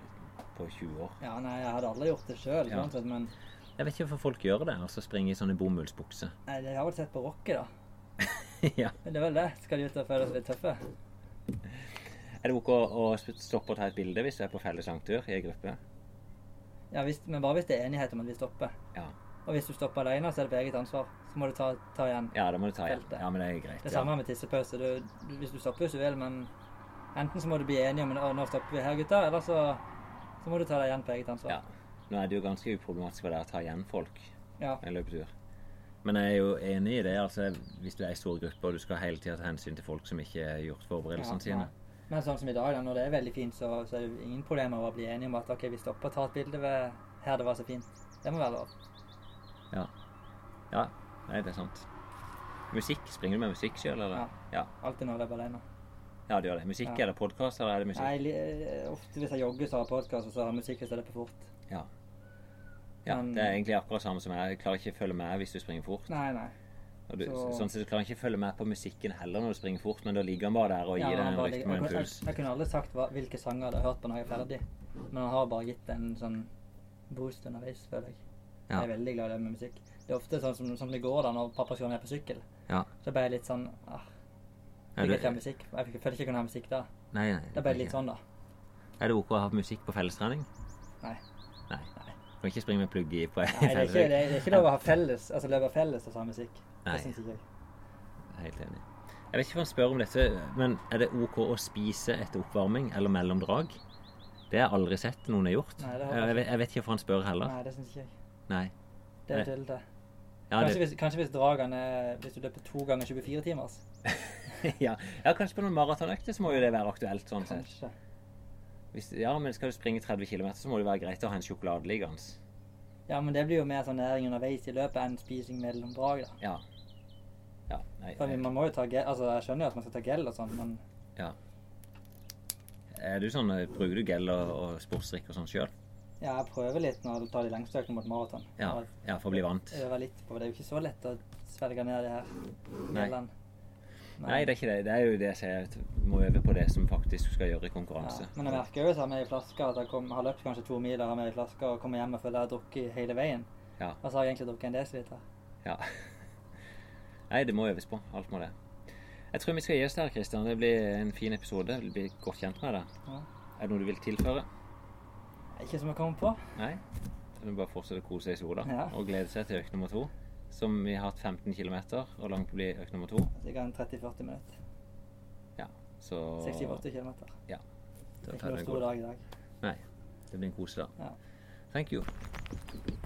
Speaker 2: på 20 år.
Speaker 4: Ja, nei, jeg hadde aldri gjort det sjøl,
Speaker 2: Ja.
Speaker 4: men
Speaker 2: Jeg vet ikke hvorfor folk gjør det, altså springe i sånne bomullsbukser.
Speaker 4: nei, jeg har vel sett på Rocky, da.
Speaker 2: ja.
Speaker 4: Men det er vel det. Skal de ut og føle seg litt tøffe?
Speaker 2: Er det ok å å stoppe og ta et bilde hvis du er på felles langtur i en gruppe?
Speaker 4: Ja, hvis, men bare hvis det er enighet om at vi stopper.
Speaker 2: Ja.
Speaker 4: Og hvis du stopper alene, så er det på eget ansvar. Så må du ta, ta igjen.
Speaker 2: ja, da må du ta igjen.
Speaker 4: Feltet.
Speaker 2: Ja, men det er greit.
Speaker 4: Det
Speaker 2: ja.
Speaker 4: samme med tissepause. Du, du, hvis du stopper hvis du vil, men enten så må du bli enige om at nå stopper vi her, gutta, eller så, så må du ta deg igjen på eget
Speaker 2: Ja.
Speaker 4: ansvar.
Speaker 2: Nå er det jo ganske uproblematisk for deg å ta igjen folk
Speaker 4: Ja.
Speaker 2: en løpetur. Men jeg er jo enig i det. altså Hvis du er i stor gruppe og du skal hele tida ta hensyn til folk som ikke har gjort forberedelsene
Speaker 4: Ja,
Speaker 2: sine.
Speaker 4: nei. Men sånn som i dag, da, når det er veldig fint, så, så er det jo ingen problemer å bli enige om at ok, vi stopper og tar et bilde ved her det var så fint. Det må være lov.
Speaker 2: Ja, nei, det er sant. Musikk? Springer du med musikk sjøl, eller? Ja.
Speaker 4: Alltid når jeg er på alene.
Speaker 2: ja, du gjør det. Musikk,
Speaker 4: Ja.
Speaker 2: er det podkast, eller er det musikk?
Speaker 4: Nei, li- eh, ofte hvis jeg jogger, så har jeg podkast, og så har jeg musikk hvis jeg løper fort.
Speaker 2: Ja. ja.
Speaker 4: Men-
Speaker 2: Det er egentlig akkurat samme som jeg. Jeg klarer ikke å følge med hvis du springer fort.
Speaker 4: Nei, nei.
Speaker 2: Og du,
Speaker 4: så-
Speaker 2: Sånn sett så klarer jeg ikke følge med på musikken heller når du springer fort, men da ligger han bare der og gir
Speaker 4: Ja,
Speaker 2: deg
Speaker 4: han
Speaker 2: en
Speaker 4: bare
Speaker 2: rytme
Speaker 4: legger-
Speaker 2: og
Speaker 4: jeg,
Speaker 2: en
Speaker 4: jeg,
Speaker 2: puls.
Speaker 4: jeg kunne aldri sagt hva, hvilke sanger jeg hadde hørt på når jeg er ferdig, men han har bare gitt en sånn boost underveis, føler jeg.
Speaker 2: Ja.
Speaker 4: Jeg er veldig glad i det med musikk. Det er ofte sånn som, som det går da når pappa skal ned på sykkel.
Speaker 2: Ja.
Speaker 4: Så ble jeg litt sånn ah,
Speaker 2: Er
Speaker 4: Jeg
Speaker 2: du-
Speaker 4: vil ikke ha musikk. Jeg fikk- følte ikke jeg kunne ha musikk da.
Speaker 2: Nei, nei.
Speaker 4: Det ble jeg litt sånn, da.
Speaker 2: Er det ok å ha musikk på fellestrening?
Speaker 4: Nei.
Speaker 2: Nei.
Speaker 4: Nei.
Speaker 2: Du kan ikke springe med plugg i på
Speaker 4: Nei, det er ikke, det er, det er ikke lov å ha felles altså løpe felles og så ha musikk.
Speaker 2: Nei.
Speaker 4: Det syns ikke jeg.
Speaker 2: Helt enig. Jeg vet ikke hva han spør om dette, men er det ok å spise etter oppvarming eller mellom drag? Det har jeg aldri sett noen har gjort.
Speaker 4: Nei, det har jeg
Speaker 2: jeg, vet, jeg vet ikke hvorfor han spør heller.
Speaker 4: Nei, det syns ikke jeg.
Speaker 2: Nei.
Speaker 4: Det
Speaker 2: Nei.
Speaker 4: er tullete.
Speaker 2: Ja,
Speaker 4: Kanskje,
Speaker 2: det,
Speaker 4: hvis- kanskje hvis dragene Hvis du løper to ganger 24 timers.
Speaker 2: ja. ja, kanskje på noen maratonøkter så må jo det være aktuelt. sånn sett.
Speaker 4: Kanskje.
Speaker 2: Hvis, ja, men skal du springe 30 km, så må det være greit å ha en sjokoladeliggende.
Speaker 4: Ja, men det blir jo mer sånn næring underveis i løpet enn spising mellom drag, da.
Speaker 2: Ja. Ja, nei,
Speaker 4: For man må jo ta gel, altså Jeg skjønner jo at man skal ta gel og sånn, men
Speaker 2: Er du sånn, eh, Bruker du gel og, og sportsdrikk og sånn sjøl?
Speaker 4: ja, jeg prøver litt når jeg tar de lengste økene mot maraton.
Speaker 2: Ja,
Speaker 4: Og
Speaker 2: ja, for å bli vant?
Speaker 4: Øver litt på det. Det er jo ikke så lett å svelge ned det her.
Speaker 2: Nei.
Speaker 4: gellene. Men-
Speaker 2: Nei, det er ikke det. Det er jo det jeg sier. at Du må øve på det som faktisk du skal gjøre i konkurranse.
Speaker 4: Ja, men jeg merker jo hvis jeg har med i flasker at jeg kom, har løpt kanskje to miler har med i flasker og kommer hjem og føler jeg har drukket hele veien.
Speaker 2: Ja.
Speaker 4: Og så har jeg egentlig drukket en desiliter.
Speaker 2: Ja. Nei, det må øves på. Alt må det. Jeg tror vi skal gi oss der, Kristian. Det blir en fin episode. Vi blir godt kjent med deg.
Speaker 4: Ja.
Speaker 2: Er det noe du vil tilføre?
Speaker 4: Ikke som jeg kommer på.
Speaker 2: Nei? Så må vi bare fortsette å kose seg i sola
Speaker 4: Ja.
Speaker 2: og glede seg til økt nummer to. Som vi har hatt 15 km, og langt på å bli økt nummer to.
Speaker 4: Sikkert en 30-40 minutter.
Speaker 2: Ja, så
Speaker 4: 68 kilometer.
Speaker 2: Da
Speaker 4: Det
Speaker 2: tar
Speaker 4: er ikke
Speaker 2: vi
Speaker 4: noe
Speaker 2: en
Speaker 4: stor
Speaker 2: god-
Speaker 4: dag i dag.
Speaker 2: Nei. Det blir en kosedag.
Speaker 4: Ja.
Speaker 2: Thank you.